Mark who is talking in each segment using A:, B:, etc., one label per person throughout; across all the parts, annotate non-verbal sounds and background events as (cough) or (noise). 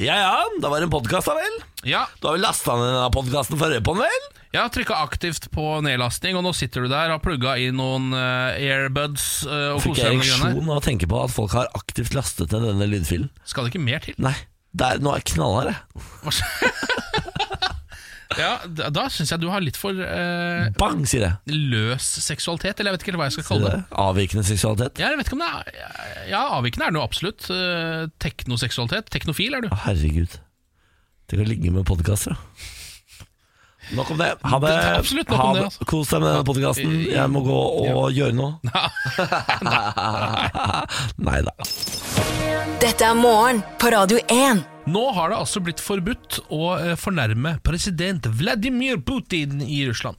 A: Ja ja, det var en podkast, da vel?
B: Ja,
A: Du har vel lasta ned denne podkasten fra Rødpåen, vel?
B: jeg har trykka aktivt på nedlasting, og nå sitter du der og har plugga i noen eh, airbuds eh, og
A: Fikk
B: koser
A: jeg
B: deg med det grønne.
A: ereksjon av å tenke på at folk har aktivt lastet ned denne lydfilen?
B: Skal det ikke mer til?
A: Nei, det er, nå er jeg knallhard, jeg.
B: (laughs) Ja, da, da syns jeg du har litt for eh,
A: Bang, sier jeg.
B: løs seksualitet, eller jeg vet ikke helt hva jeg skal
A: Sier
B: kalle det.
A: jeg. Avvikende seksualitet.
B: Ja, jeg vet ikke om det er Ja, avvikende er det jo absolutt. Eh, teknoseksualitet. Teknofil er du.
A: Å, Herregud. Tenk å ligge med podkaster, da. Nok om det. Ha det.
B: Det er absolutt nok
A: ha
B: om det, altså.
A: Kos deg med denne podkasten. Jeg må gå og gjøre
B: (laughs)
A: noe. (laughs) Nei da.
C: Dette er morgen på Radio 1.
B: Nå har det altså blitt forbudt å eh, fornærme president Vladimir Putin i Russland.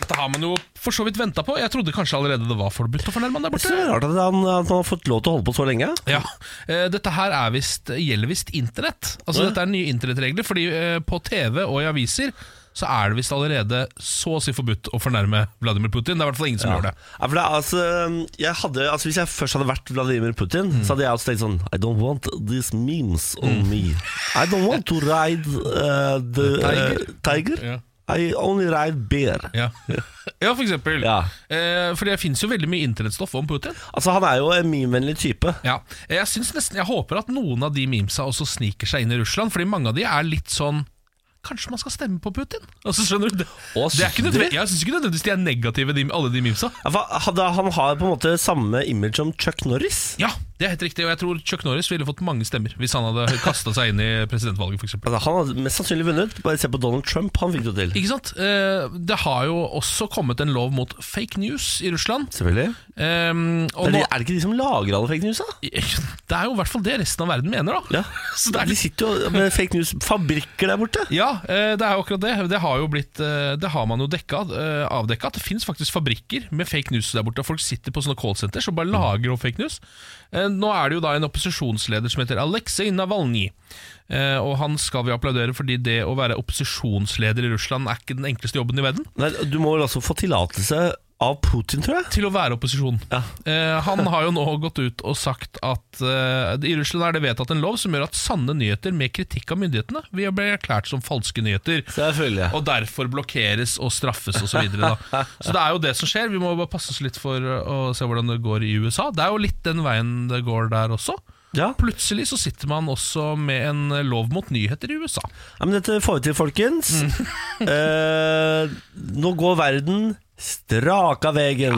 B: Dette har man jo for så vidt venta på. Jeg trodde kanskje allerede det var forbudt å fornærme han der
A: Jeg synes
B: borte.
A: det er rart at han, at han har fått lov til å holde på så lenge.
B: Ja, eh, Dette her er vist, gjelder visst internett. Altså Dette er nye internettregler, fordi eh, på TV og i aviser så er det visst allerede så å si forbudt å fornærme Vladimir Putin. Det er i hvert fall ingen som gjør det.
A: Ja, for det, er altså, jeg hadde, altså, hvis jeg først hadde vært Vladimir Putin,
B: Mm.
A: så hadde jeg også tenkt sånn I don't want these memes on me. I don't want to ride uh, the uh,
B: Tiger?
A: tiger.
B: Ja.
A: I only ride bear. (laughs)
B: Ja, ja for eksempel.
A: Ja.
B: Eh, for det fins jo veldig mye internettstoff om Putin.
A: Altså, han er jo en memevennlig type.
B: Ja, jeg, synes nesten, jeg håper at noen av de memesa også sniker seg inn i Russland, fordi mange av de er litt sånn Kanskje man skal stemme på Putin? Altså, skjønner du? Det,
A: Å,
B: det er
A: synes
B: ikke
A: du?
B: nødvendig, jeg syns ikke nødvendigvis de er negative, de, alle de memesa.
A: Ja, for Hadde, han har på en måte samme image som Chuck Norris.
B: Ja, det er helt riktig, og jeg tror Chuck Norris ville fått mange stemmer hvis han hadde kasta seg inn i presidentvalget, f.eks.
A: Altså, han hadde mest sannsynlig vunnet. Bare se på Donald Trump, han fikk det jo til.
B: Ikke sant? Eh, Det har jo også kommet en lov mot fake news i Russland.
A: Selvfølgelig.
B: Eh, og
A: Er det,
B: nå,
A: er det ikke de som lager alle fake news, da?
B: (laughs) det er jo i hvert fall det resten av verden mener,
A: (laughs)
B: da.
A: Ja.
B: Så det er
A: De sitter jo med fake news-fabrikker der borte.
B: Ja, eh, det er jo akkurat det. Det har, jo blitt, eh, det har man jo dekka, eh, avdekka. At det fins faktisk fabrikker med fake news der borte. Folk sitter på sånne callsenter som bare lager opp fake news. Eh, Nå er det jo da en opposisjonsleder som heter Aleksej Navalnyj. Eh, Og han skal vi applaudere, fordi det å være opposisjonsleder i Russland er ikke den enkleste jobben i verden.
A: Nei, du må vel altså få tillatelse av Putin, tror jeg.
B: Til å være opposisjon.
A: Ja.
B: Eh, Han har jo nå gått ut og sagt at eh, i Russland er det vedtatt en lov som gjør at sanne nyheter med kritikk av myndighetene vil bli erklært som falske nyheter.
A: Selvfølgelig.
B: Og derfor blokkeres og straffes osv. Så, videre, da. så det er jo det som skjer. Vi må bare passe oss litt for å se hvordan det går i USA. Det er jo litt den veien det går der også.
A: Ja.
B: Plutselig så sitter man også med en lov mot nyheter i USA.
A: ja, men dette får vi til, folkens. (laughs) eh, nå går verden straka vegen.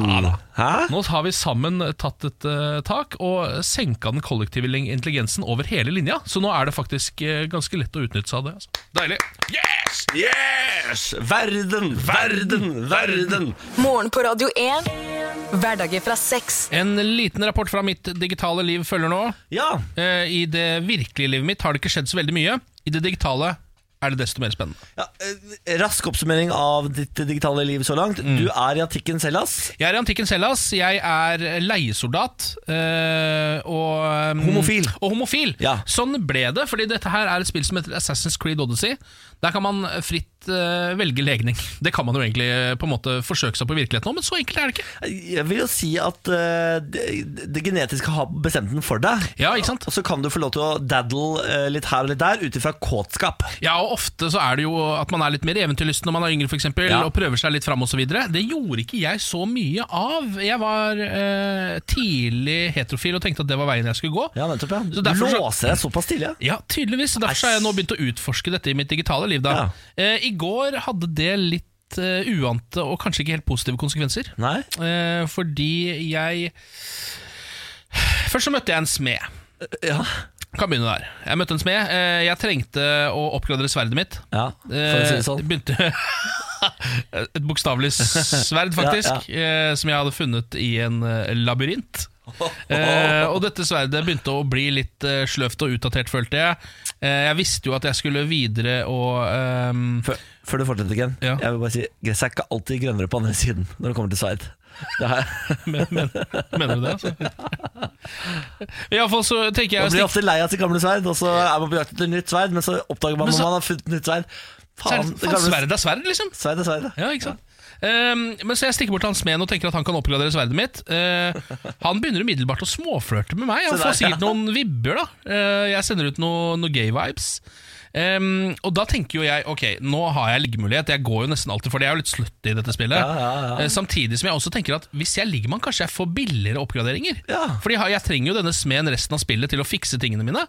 A: Hæ?
B: Nå har vi sammen tatt et eh, tak og senka den kollektive intelligensen over hele linja. Så nå er det faktisk eh, ganske lett å utnytte seg av det. Altså. Deilig. Yes!
A: Yes! Verden, verden, verden!
C: Morgen på Radio 1. Hverdager fra seks.
B: En liten rapport fra mitt digitale liv følger nå.
A: Ja,
B: Eh, I det virkelige livet mitt har det ikke skjedd så veldig mye. I det digitale er det desto mer spennende.
A: ja eh, Rask oppsummering av ditt digitale liv så langt. Du er i antikken selv, ass.
B: Jeg er i antikken Hellas. Jeg er leiesoldat. eh, og mm,
A: Homofil.
B: Og homofil.
A: Ja.
B: Sånn ble det, fordi dette her er et spill som heter Assassin's Creed Odyssey. Der kan man fritt eh, velge legning. (laughs) Det kan man jo egentlig eh, på en måte forsøke seg på i virkeligheten òg, men så enkelt er det ikke.
A: Jeg vil jo si at eh, det, det genetiske har bestemt den for deg.
B: Ja, ikke sant?
A: Og så kan du få lov til å daddle eh, litt her og litt der ut ifra kåtskap.
B: Ja, og ofte så er det jo at man er litt mer eventyrlysten når man er yngre, for eksempel,
A: Ja.
B: og prøver seg litt fram og så videre. Det gjorde ikke jeg så mye av. Jeg var eh, tidlig heterofil og tenkte at det var veien jeg skulle gå.
A: Ja, nettopp, ja.
B: Så
A: Du
B: derfor så-
A: låser deg såpass tidlig. ja.
B: Ja, tydeligvis. og Derfor så har jeg nå begynt å utforske dette i mitt digitale liv. Da. Eh, I går hadde det litt eh, uante og kanskje ikke helt positive konsekvenser.
A: Nei?
B: Eh, fordi jeg Først så møtte jeg en smed.
A: Ja.
B: Kan begynne der. Jeg møtte en smed. Eh, jeg trengte å oppgradere sverdet mitt.
A: ja. For å si det sånn.
B: Eh, Begynte (laughs) Et bokstavelig
A: (laughs)
B: sverd, faktisk, eh, som jeg hadde funnet i en eh, labyrint. Eh, og dette sverdet begynte å bli litt eh, sløvt og eh, utdatert, følte jeg. Eh, Jeg visste jo at jeg skulle videre og (laughs) ehm,
A: Før, før du fortsetter, Ken.
B: Ja.
A: Jeg vil bare si Gresset er ikke alltid grønnere på andre siden når det kommer til Sveid. Det er,
B: men, men, Mener du det,
A: (laughs)
B: altså? Iallfall så tenker jeg
A: man
B: å
A: blir
B: stikke
A: ofte lei av sitt gamle sverd, og så er man på jakt etter nytt sverd, men så oppdager man
B: Men så-
A: når man har funnet nytt sverd.
B: Faen,
A: Faen, det
B: faen,
A: gamle
B: sverd er sverd, liksom.
A: sverd er sverd. ja.
B: Ja, ikke sant? Ehm, men så jeg stikker bort til han smeden og tenker at han kan oppgradere sverdet mitt. Eh, han begynner umiddelbart å småflørte med meg.
A: Se
B: Han får
A: der, ja.
B: sikkert noen vibber, da. Eh, jeg sender ut noen noe gay vibes. Ehm, og da tenker jo jeg ok, nå har jeg liggemulighet. Jeg går jo nesten alltid for det. Jeg er jo litt slutty i dette spillet.
A: Ja, ja, ja.
B: Eh, samtidig som jeg også tenker at hvis jeg ligger med han, kanskje jeg får billigere oppgraderinger.
A: Ja.
B: Fordi jeg, jeg trenger jo denne smeden resten av spillet til å fikse tingene mine.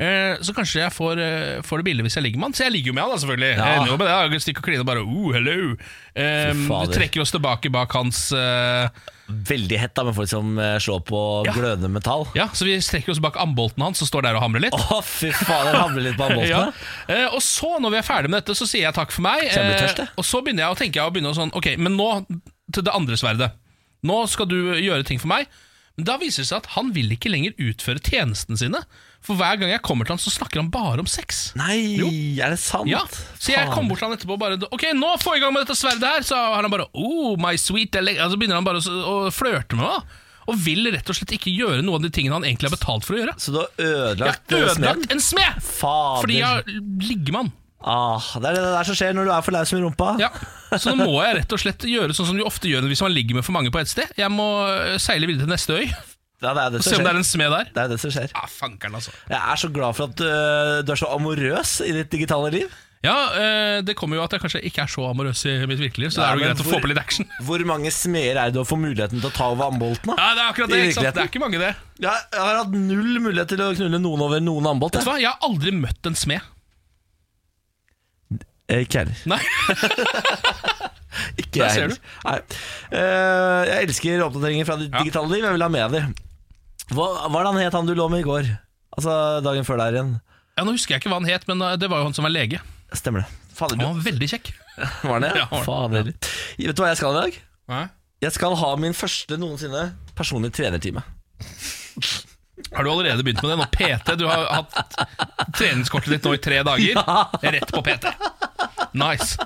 B: Eh, så kanskje jeg får, eh, får det billig hvis jeg ligger med han. Så jeg ligger jo med han, da, selvfølgelig.
A: Ja.
B: Jeg ender jo med det. Jeg har stikk og kline og bare oh, hello. Eh,
A: Fy fader.
B: du trekker oss tilbake bak hans eh,
A: Veldig hett da med folk som eh, slår på
B: Ja.
A: glødende metall.
B: Ja, så vi strekker oss bak ambolten hans og står der og hamrer litt.
A: Å, fy faen, jeg hamler
B: (laughs)
A: litt på
B: Ja.
A: håndboltene.
B: Eh, og så, når vi er ferdig med dette, så sier jeg takk for meg. Eh,
A: Kjenner du tørst, det?
B: og så begynner jeg å tenke og begynner å sånn Ok, men nå til det andre sverdet. Nå skal du gjøre ting for meg. Men da viser det seg at han vil ikke lenger utføre tjenestene sine. For hver gang jeg kommer til han, så snakker han bare om sex.
A: Nei, er det sant?
B: Ja, så jeg
A: Faen.
B: kom bort til han etterpå og bare Ok, nå få i gang med dette sverdet her Så har han bare Oh, my sweet dele-" Og så begynner han bare å, å flørte med meg Og vil rett og slett ikke gjøre noen av de tingene han egentlig har betalt for å gjøre
A: Så du har
B: Jeg
A: ødelagt,
B: har
A: eh, smeden?
B: ødelagt en smed
A: Fader.
B: Fordi jeg ligger med han
A: ah, Det er det der som skjer når du er for laus med rumpa.
B: ja. Så nå må jeg rett og slett gjøre sånn som du ofte gjør Hvis man ligger med for mange på et sted Jeg må eh, seile videre til neste øy (laughs) Og
A: Ja, det er det som
B: se om det
A: skjer.
B: er en smed der
A: Det er det som skjer.
B: Ah, fankeren altså
A: Jeg er så glad for at eh, du er så amorøs i ditt digitale liv.
B: Ja, eh, det kommer jo at jeg kanskje ikke er så amorøs i mitt virkelige liv Så
A: Nei,
B: det er jo
A: men
B: greit å
A: hvor-
B: få på litt action
A: Hvor mange smeder er det du har fått muligheten til å ta over ambolten? da?
B: Ja, det er akkurat det,
A: I
B: ikke sant? Det
A: virkeligheten.
B: er ikke mange det
A: Jeg, jeg har hatt null mulighet til å knulle noen over noen ambolt.
B: Vet du hva, jeg har aldri møtt en smed.
A: Ikke heller.
B: Nei,
A: Ikke
B: Der
A: jeg
B: ser
A: heller. Nei. Eh, jeg elsker oppdateringer fra ditt
B: Ja.
A: digitale liv. Jeg vil ha med dem. Hva hva er det han het han du lå med i går? Altså dagen før der igjen.
B: ja, Nå husker jeg ikke hva han het, men eh, det var jo han som var lege.
A: Stemmer det. Fader,
B: Han
A: du
B: var veldig kjekk.
A: var det?
B: Ja, han var
A: Fader. Vet du hva jeg skal i dag?
B: Har
A: Jeg skal ha min første noensinne personlige trenertime.
B: du allerede begynt med det nå? PT, du har hatt treningskortet ditt nå i tre dager. Rett på PT. Nice.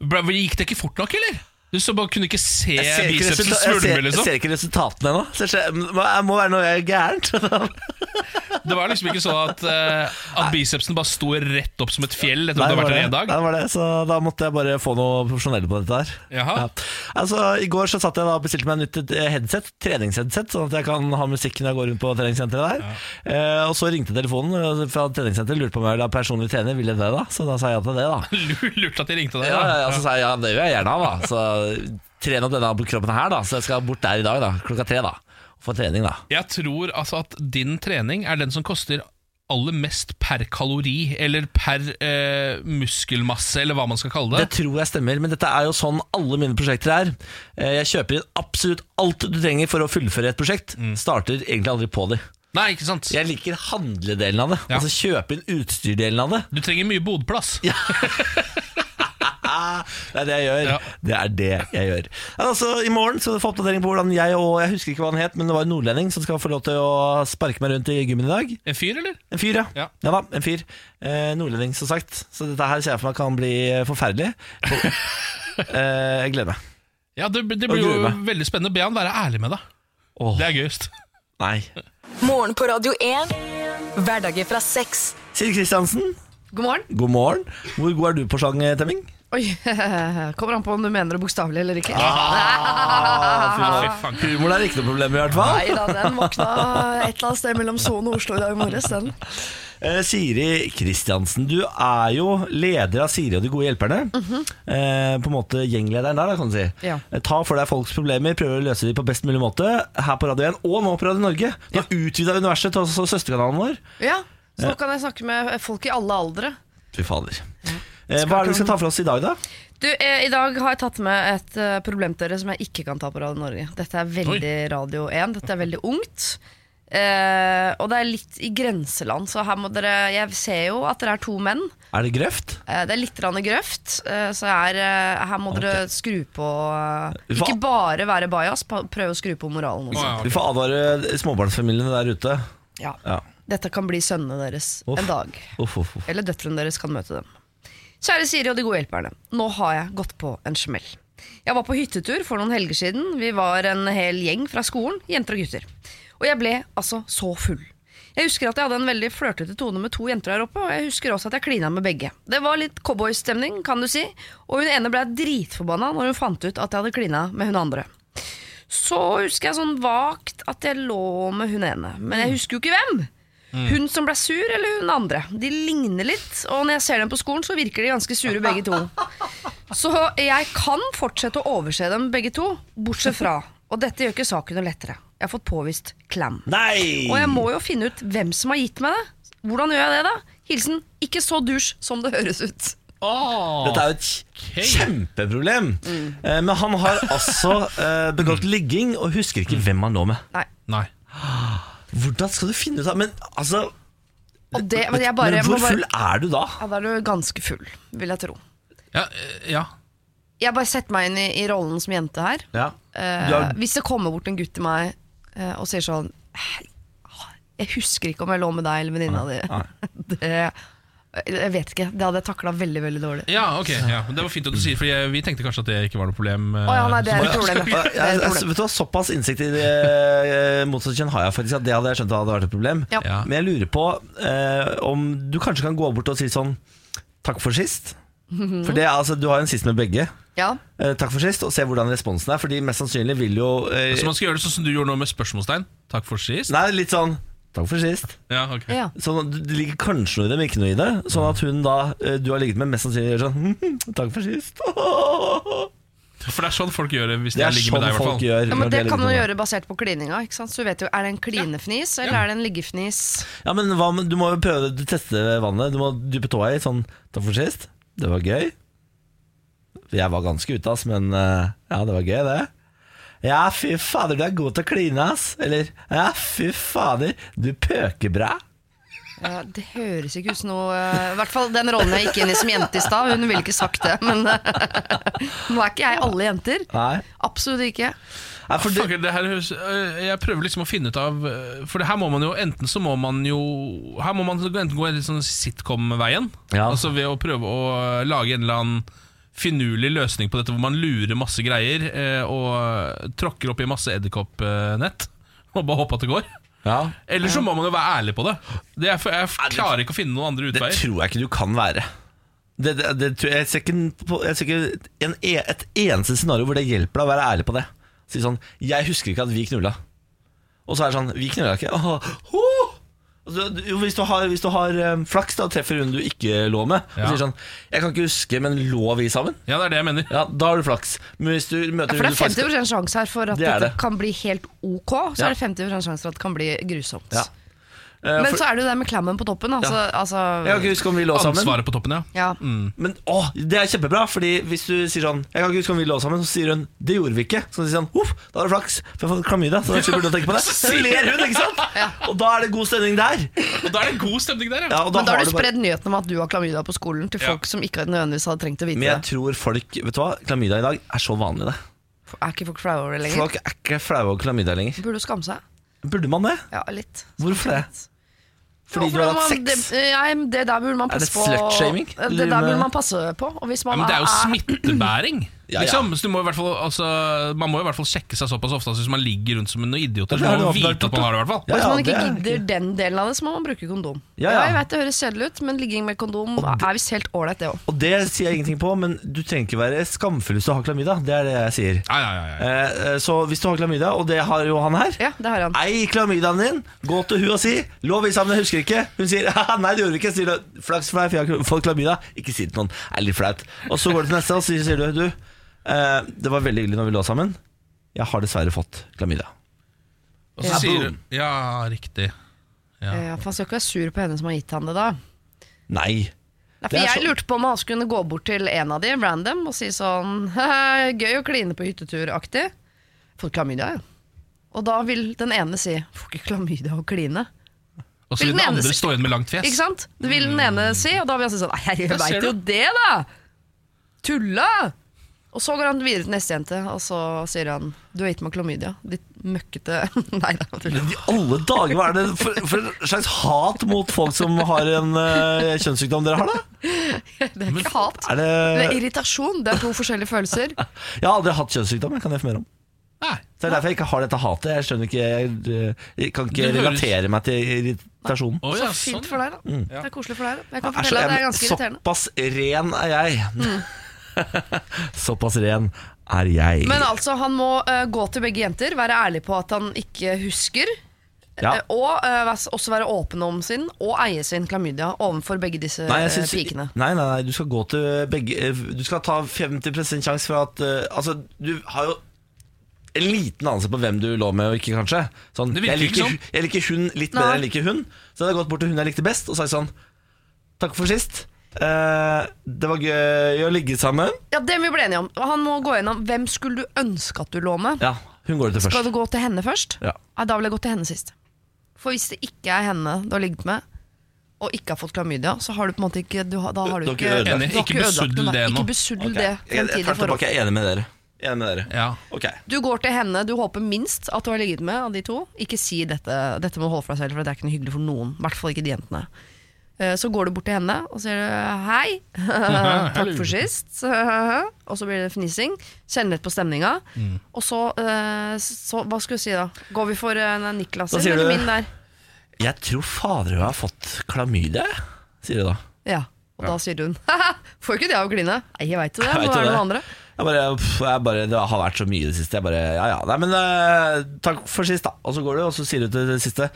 B: Bra, Gikk det ikke fort nok, eller? Du så bare kunne ikke se
A: Jeg ser ikke,
B: bicepsen
A: resulta- jeg
B: svulme,
A: ser, jeg
B: liksom.
A: ser ikke resultatene ennå. Så jeg ser- Det må være noe jeg er (laughs) gærent.
B: Det var liksom ikke sånn at, eh, at bicepsen bare sto rett opp som et fjell etter
A: Nei,
B: at du har
A: var
B: vært
A: det,
B: der en dag.
A: Nei, det var det, så da måtte jeg bare få noe profesjonelle på dette her.
B: Jaha. (laughs)
A: Ja. Altså, I går så satt jeg da og bestilte meg nytt eh, headset, treningsheadset, sånn at jeg kan ha musikk når jeg går rundt på treningssenteret der. Eh, og så ringte telefonen eh, fra treningssenteret, lurte på om jeg ville ha personlig trener, ville jeg det da? Så da sa jeg ja til det, da.
B: Lurt at de ringte deg.
A: Ja,
B: da.
A: ja, ja, så sa jeg ja, det gjør jeg gjerne ha, da. Så trene opp denne kroppen her, da. Så jeg skal bort der i dag, da. Klokka tre, da. Og få trening, da.
B: Jeg tror altså at din trening er den som koster aller mest per kalori, eller per eh, muskelmasse, eller hva man skal kalle det.
A: Det tror jeg stemmer, men dette er jo sånn alle mine prosjekter er. Eh, Jeg kjøper inn absolutt alt du trenger for å fullføre et prosjekt.
B: Mm.
A: Starter egentlig aldri på det.
B: Nei, ikke sant?
A: Jeg liker handledelen av det.
B: Ja.
A: Altså kjøpe inn utstyrdelen av det.
B: Du trenger mye bodplass.
A: Ah, Det er det jeg gjør.
B: Ja.
A: Det er det jeg gjør. Ja, Altså, I morgen skal du få oppdatering på hvordan jeg og Jeg husker ikke hva han het, men det var en nordlending som skal få lov til å sparke meg rundt i gymmen i dag.
B: En fyr, eller?
A: En fyr, ja.
B: Ja.
A: ja. da, en fyr. Eh, nordlending, som sagt. Så dette her ser jeg for meg kan bli forferdelig. eh, jeg gleder meg.
B: Ja, det, det
A: Og
B: blir jo
A: gruer meg.
B: veldig spennende. Be han være ærlig med deg.
A: Åh,
B: Det er gøyest.
A: nei.
C: Morgen på Radio 1. Hverdager fra seks.
A: Siri Kristiansen,
D: God morgen.
A: god morgen. Hvor god er du på sangtemming?
D: Oi, Kommer an på om du mener det bokstavelig eller ikke.
B: Fy faen.
A: Ah, Humor er ikke noe problem, i hvert fall.
D: Nei da, den våkna et eller annet sted mellom Son og Oslo i dag morges. Den.
A: Eh, Siri Kristiansen, du er jo leder av Siri og de gode hjelperne. eh, på en måte gjenglederen der, da, kan du si.
D: Mhm. Ja.
A: Eh, Ta for deg folks problemer, prøver å løse dem på best mulig måte her på Radio 1 og nå på Radio Norge. Du har utvida universet til også søsterkanalen vår.
D: Ja, så nå kan jeg snakke med folk i alle aldre.
A: Fy fader. Eh, hva er det vi skal ta for oss i dag, da?
D: Du, eh, I dag har jeg tatt med et eh, problem til dere som jeg ikke kan ta på Radio Norge. Dette er veldig Radio 1. Dette er veldig ungt. Eh, og det er litt i grenseland, så her må dere Jeg ser jo at dere er to menn.
A: Er det grøft?
D: Eh, Det er litt grann grøft, eh, så her, eh, her må dere skru på eh,
A: Hva?
D: Ikke bare være bajas, pa- prøv å skru på moralen
B: Å,
D: også.
B: ja,
A: Vi
B: ok.
A: får advare småbarnsfamiliene der ute.
D: Ja.
A: Ja.
D: Dette kan bli sønnene deres
A: Uff.
D: en dag.
A: Uff, uff, uff.
D: Eller døtrene deres kan møte dem. Kjære Siri og de gode hjelperne. Nå har jeg gått på en smell. Jeg var på hyttetur for noen helger siden. Vi var en hel gjeng fra skolen, jenter og gutter. Og jeg ble altså så full. Jeg husker at jeg hadde en veldig flørtete tone med to jenter her oppe, og jeg husker også at jeg klina med begge. Det var litt cowboystemning, kan du si, og hun ene ble dritforbanna når hun fant ut at jeg hadde klina med hun andre. Så husker jeg sånn vagt at jeg lå med hun ene, men jeg husker jo ikke hvem.
A: Mm.
D: Hun som ble sur, eller hun andre? De ligner litt, og når jeg ser dem på skolen, så virker de ganske sure begge to. Så jeg kan fortsette å overse dem begge to, bortsett fra Og dette gjør ikke saken noe lettere. Jeg har fått påvist klam.
A: Nei!
D: Og jeg må jo finne ut hvem som har gitt meg det. Hvordan gjør jeg det, da? Hilsen ikke så dusj som det høres ut.
A: Dette er jo et kjempeproblem.
D: Mm.
A: Eh, Men han har altså eh, begått ligging og husker
B: Mm.
A: ikke hvem han lå med.
D: Nei.
B: Nei.
A: Hvordan skal du finne ut av Men altså
D: Og det, men jeg bare,
A: men
D: jeg må
A: hvor full
D: bare
A: er du da?
D: ja, Da er du ganske full, vil jeg tro.
B: Ja, eh, ja.
D: Jeg bare setter meg inn i, i rollen som jente her.
A: Ja.
D: Eh,
A: Du er-
D: Hvis det kommer bort en gutt til meg eh, og sier sånn «Hei, Jeg husker ikke om jeg lå med deg eller venninna di. (laughs) Det, jeg vet ikke. Det hadde jeg takla veldig veldig dårlig.
B: Ja, ok. Ja. men Det var fint at du sier for jeg, vi tenkte kanskje at det ikke var noe problem. eh,
D: Å ja, nei, det er
B: så-
D: et problem. ja.
A: Jeg,
D: Det er et
A: jeg,
D: problem.
A: vet du hva, Såpass innsikt i eh, motsatt kjønn har jeg faktisk. At det hadde jeg skjønt hadde vært et problem.
D: Ja.
B: Ja.
A: Men jeg lurer på eh, om du kanskje kan gå bort og si sånn Takk for sist.
D: Mhm.
A: For det, er altså, Du har jo en sist med begge.
D: Ja.
A: Eh, takk for sist, og se hvordan responsen er. Fordi mest sannsynlig vil jo eh,
B: Så man skal gjøre det sånn som du gjorde nå med spørsmålstegn. Takk for sist.
A: Nei, litt sånn Takk for sist.
B: Ja, ok.
D: Ja.
A: Sånn, at det ligger kanskje noe i det, men ikke noe i det. Sånn at hun da eh, du har ligget med, mest sannsynlig gjør sånn (laughs) «Mhm, Takk for sist. (laughs) Det
B: For det er sånn folk gjør det hvis de
A: er
B: ligger med
A: sånn
B: deg. i hvert
A: folk
B: fall
A: gjør.
D: ja,
A: når
D: men
A: de
D: Det
A: har
D: kan
A: ligget
D: du
A: med
D: gjøre basert på klininga. Ikke sant? Så du vet jo, Er det en klinefnis eller er det en liggefnis?
A: Ja, men hva, med- Du må jo prøve å teste vannet. Du må dyppe tåa i. Sånn, takk for sist. Det var gøy. Jeg var ganske ute, ass, men eh, ja, det var gøy, det. Ja, fy fader, du er god til å kline, ass. Eller ja, fy fader, du pøker bra.
D: Ja, Eh, det høres ikke ut som noe eh, I hvert fall den rollen jeg gikk inn i som jente i stad. Hun ville ikke sagt det, men (laughs) nå er ikke jeg alle jenter.
A: Nei.
D: Absolutt ikke.
A: Nei, for det,
B: Fucker, det her, høres- øh, jeg prøver liksom å finne ut av øh, For det her må man jo enten så må man jo Her må man enten gå litt sånn sitcom-veien.
A: Ja.
B: Altså ved å prøve å øh, lage en eller annen finurlig løsning på dette, hvor man lurer masse greier eh, og øh, tråkker opp i masse edderkoppnett. (laughs) Og bare håper at det går.
A: ja,
B: Eller så må man jo være ærlig på det. det er, for jeg klarer ikke å finne noen andre
A: det
B: utveier.
A: tror jeg ikke du kan være. Det, det, det, tror jeg- jeg ser ikke, en- på- jeg ser ikke en, e- et eneste scenario hvor det hjelper deg å være ærlig på det. Si sånn 'Jeg husker ikke at vi knulla'. Og så er det sånn 'Vi knulla ikke'. Åh, åh. Altså, du- jo, hvis du har, hvis du har eh, flaks da, og treffer hun du ikke lå med,
B: Ja.
A: og sier sånn 'Jeg kan ikke huske, men lå vi sammen?'
B: Ja, det er det jeg mener.
A: Ja, Da har du flaks. Men hvis du møter
D: Ja, for det
A: hun du
D: er
A: faktisk-
D: 50 sjanse her for at
A: Det er
D: det
A: det.
D: kan bli helt ok. Så
A: Ja.
D: er det 50 sjanse for at det kan bli grusomt.
A: Ja. Eh,
D: Men
A: for,
D: så er det jo det med klammen på toppen. Altså,
A: Jeg kan
D: altså,
A: ikke huske om vi lå sammen.
B: Ansvaret på toppen, ja. Mm.
D: ja.
A: Mm. Men å, det er kjempebra, Fordi hvis du sier sånn 'Jeg kan ikke huske om vi lå sammen', så sier hun 'det gjorde vi ikke'. Så sier han 'uff, da har du flaks, for jeg har fått klamydia', så da slipper du å tenke på det.
D: (laughs)
A: Så ler hun, ikke sant? Og da er det god stemning der.
B: Og da er det god stemning der, ja.
A: Ja, og
D: Men da har du
A: bare-
D: spredd nyheten om at du har klamydia på skolen til
B: Ja.
D: folk som ikke nødvendigvis hadde trengt å vite
A: Men jeg
D: det.
A: tror folk Vet du hva, klamydia i dag er så vanlig, det.
D: Er ikke folk flaue over det lenger?
A: Folk er ikke flaue over klamydia lenger.
D: Burde jo skamme seg.
A: Burde man det?
D: Ja, litt.
A: Hvorfor det? Fordi
D: Ja,
A: du
D: for
A: har
D: da
A: hatt
D: må-
A: sex?
D: Det, nei, det der burde man
A: Er det
D: passe på.
A: slutshaming?
D: Det,
A: Du
D: det der
A: med-
D: burde man passe på. Og hvis man
B: Ja, men det er jo
D: er-
B: smittebæring.
A: Ja, ja.
B: Liksom. Så du må i hvert fall, altså, man må i hvert fall sjekke seg såpass ofte altså, hvis man ligger rundt som en idiot.
A: Ja, det
B: Så
A: har
B: må man
A: du oppdaget,
B: vite at man har det, i hvert fall.
A: Ja,
D: Hvis
A: ja,
D: man ikke
A: det er
D: gidder den delen av det, så må man bruke kondom.
A: Ja, ja.
D: jeg vet det høres kjedelig ut, men ligging med kondom er visst helt ålreit, det òg.
A: Og det sier jeg ingenting på, men du trenger ikke være skamfull hvis du har klamydia. Det er det jeg sier.
B: Ja, ja, ja, ja.
A: Eh, eh, Så hvis du har klamydia, og det har jo han her
D: Ja, det har han.
A: Ei klamydiaen din, gå til hun og si Lå vi sammen, jeg husker ikke Hun sier, (laughs) «Haha, nei det gjorde vi ikke Sier du, flaks for deg, for jeg har fått klamydia Ikke si det til noen, det er litt flaut Og så går du til neste, og så sier du Du, eh, det var veldig hyggelig når vi lå sammen Jeg har dessverre fått klamydia
B: Og så
A: Ja,
B: sier
A: boom.
B: hun Ja, riktig. Ja.
D: Ja, for han Eh, skal ikke være sur på henne som har gitt han det, da.
A: Nei,
D: Nei,
A: Det
D: for
A: er
D: jeg
A: så-
D: lurte på om han skulle kunne gå bort til en av de, random, og si sånn (laughs) «Haha, Gøy å kline på hyttetur-aktig. Fått klamydia, ja. Og da vil den ene si Får ikke klamydia å kline.
B: Og så vil
D: Hvilken
B: den
D: eneste-
B: andre stå igjen med langt
D: Ikke
B: fjes.
D: sant? Det vil den ene si, og da vil han si sånn Nei, jeg
B: Der ser
D: veit
B: du.
D: jo det, da! Tulla! Og så går han videre til neste jente, og så sier han Du har gitt meg klamydia. Ditt møkkete (laughs) Nei da. tull.
A: Men I alle dager, hva er det for, for en slags hat mot folk som har en eh, kjønnssykdom dere har, da?
D: Det er ikke hat.
A: Er det,
D: Det er irritasjon. Det er to forskjellige følelser.
A: jeg har aldri hatt kjønnssykdom, jeg kan informere om.
B: Nei.
A: Så Det er derfor jeg ikke har dette hatet. Jeg skjønner ikke Jeg, eh, jeg kan ikke
B: Det høres-
A: relatere meg til irritasjonen.
B: Å,
D: Så
B: ja,
D: fint
B: sånn,
D: for
B: ja.
D: deg, da. Det er koselig for deg. da. Jeg kan
A: Er så-
D: fortelle at det er
A: jeg-
D: ganske irriterende.
A: Såpass ren er jeg. (laughs) Såpass ren er jeg.
D: Men altså, han må eh, gå til begge jenter, være ærlig på at han ikke husker.
A: Ja.
D: eh, og eh, væs- også være åpen om sin og eie sin klamydia overfor begge disse
A: Nei,
D: eh,
A: jeg synes-
D: pikene.
A: Nei, nei, nei, du skal gå til begge eh, Du skal ta 50 sjanse for at eh, Altså, du har jo en liten anelse på hvem du lå med og ikke, kanskje. Sånn, jeg,
B: Det virker
A: liker,
B: ikke sånn.
A: hu- jeg liker hun litt bedre
D: Nei.
A: enn jeg liker hun. Så jeg hadde gått bort til hun jeg likte best og sagt sånn Takk for sist. Eh, det var gøy å ligge sammen.
D: Ja, Det må vi bli enige om. Han må gå gjennom hvem skulle du ønske at du lå med.
A: Ja, hun går det til
D: Skal
A: først.
D: du gå til henne først?
A: Ja.
D: Nei, da vil jeg gå til henne sist. For hvis det ikke er henne du har ligget med, og ikke har fått klamydia, så har du på en måte ikke du har, Da har du,
A: Du har ikke
D: ikke,
A: ødelagt.
D: du har
B: Enig.
D: ikke
B: Ikke
D: ødelagt
B: besuddel
D: noe.
B: det nå.
D: Ikke besuddel
A: Ok,
D: det
A: Jeg, jeg
D: fremtidige
A: tar tilbake,
D: forhold.
A: jeg er enig med dere. Jeg er enig med dere.
B: Ja.
A: Ok.
D: Du går til henne du håper minst at du har ligget med av de to. Ikke si dette, dette må du holde for deg selv, for det er ikke noe hyggelig for noen. I hvert fall ikke de jentene. Eh, Så går du bort til henne og sier du,
A: (laughs)
D: hei, takk for sist. (laughs) Og så blir det fnising. Kjenner litt på stemninga.
A: Mm.
D: Og så, eh, så Hva skal du si da? Går vi for eh, Niklas
A: Da sier
D: eller
A: du-
D: min der?
A: Jeg tror fader hun har fått klamydia, jeg, sier du da.
D: Ja. Og da sier hun (laughs) får ikke det av å kline. Nei, jeg veit jo det.
A: Jeg
D: Må
A: vet jo
D: være
A: det.
D: noen andre. (laughs)
A: Jeg bare, pff, jeg bare, det har vært så mye i det siste. Jeg bare, ja, ja, nei, men eh, Takk for sist, da. Og så går du, og så sier du til det siste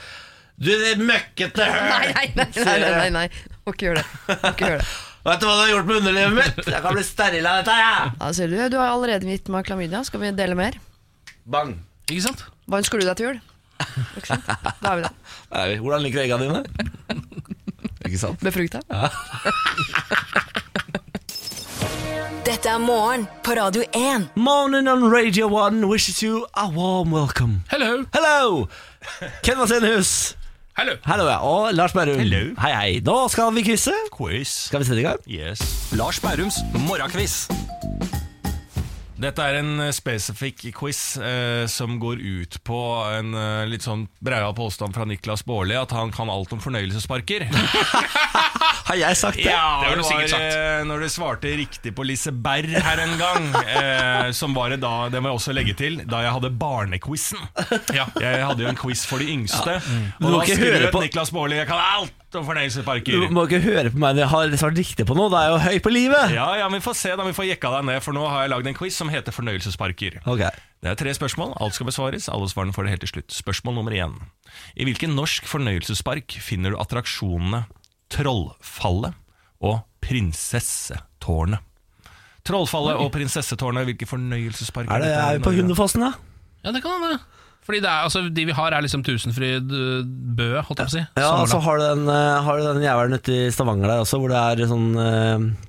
A: Du, det møkkete høl!
D: Nei, nei, nei. nei, nei, nei, nei. Må ikke gjøre det. Må ikke gjøre det.
A: Vet du hva du har gjort med underlivet mitt? Jeg kan bli steril av dette, jeg!
D: Da sier du du har allerede gitt meg klamydia, skal vi dele mer?
A: Bang.
B: Ikke sant?
D: Hva ønsker du deg til jul? Ikke sant? Da er vi der.
A: Nei, hvordan liker du egga dine? (laughs) Ikke sant?
D: Befrukta.
C: Dette er morgen på Radio 1.
A: Morning on Radio 1 wishes you a warm welcome.
B: Hello!
A: Hello! Ken Vasenhus.
B: Hello!
A: Hallo, ja. Og Lars Berrum.
E: Hello.
A: Hei, hei. Nå skal vi krysse.
E: Quiz.
A: Skal vi sette i gang?
E: Yes. Lars Bærums morgenkviss. Dette er en eh, spesifikk quiz eh, som går ut på en eh, litt sånn breia påstand fra Niklas Baarli at han kan alt om fornøyelsesparker.
A: Har jeg sagt det?
E: Ja,
B: Det har du sikkert sagt.
E: eh, når du svarte riktig på Liseberg her en gang, eh, som var det da Det må jeg også legge til, da jeg hadde barnequizen.
B: Ja.
E: Jeg hadde jo en quiz for de yngste.
A: Du må
E: Og da
A: ikke høre
E: skrøt
A: på-
E: Niklas Baarli 'Jeg kan alt om fornøyelsesparker'.
A: Du må ikke høre på meg når jeg har svart riktig på noe. Da er jeg jo høy på livet.
E: Ja, ja, men vi får se da, vi får jekka deg ned, for nå har jeg lagd en quiz som heter Fornøyelsesparker.
A: Ok.
E: Det er tre spørsmål, alt skal besvares, alle svarene får det helt til slutt. Spørsmål nummer én. I hvilken norsk fornøyelsespark finner du attraksjonene Trollfallet og Prinsessetårnet? Trollfallet og Prinsessetårnet, hvilke fornøyelsesparker
A: Er det
E: dette
A: er
E: i
A: vi på
E: Norge?
A: Hundefossen, da?
B: Ja, det kan hende. Fordi det er, altså, De vi har, er liksom Tusenfryd, øh, Bø, holdt jeg på å si.
A: Ja, og så
B: Sommerland.
A: har du den, eh, har du den jævelen ute i Stavanger der også, hvor det er sånn eh,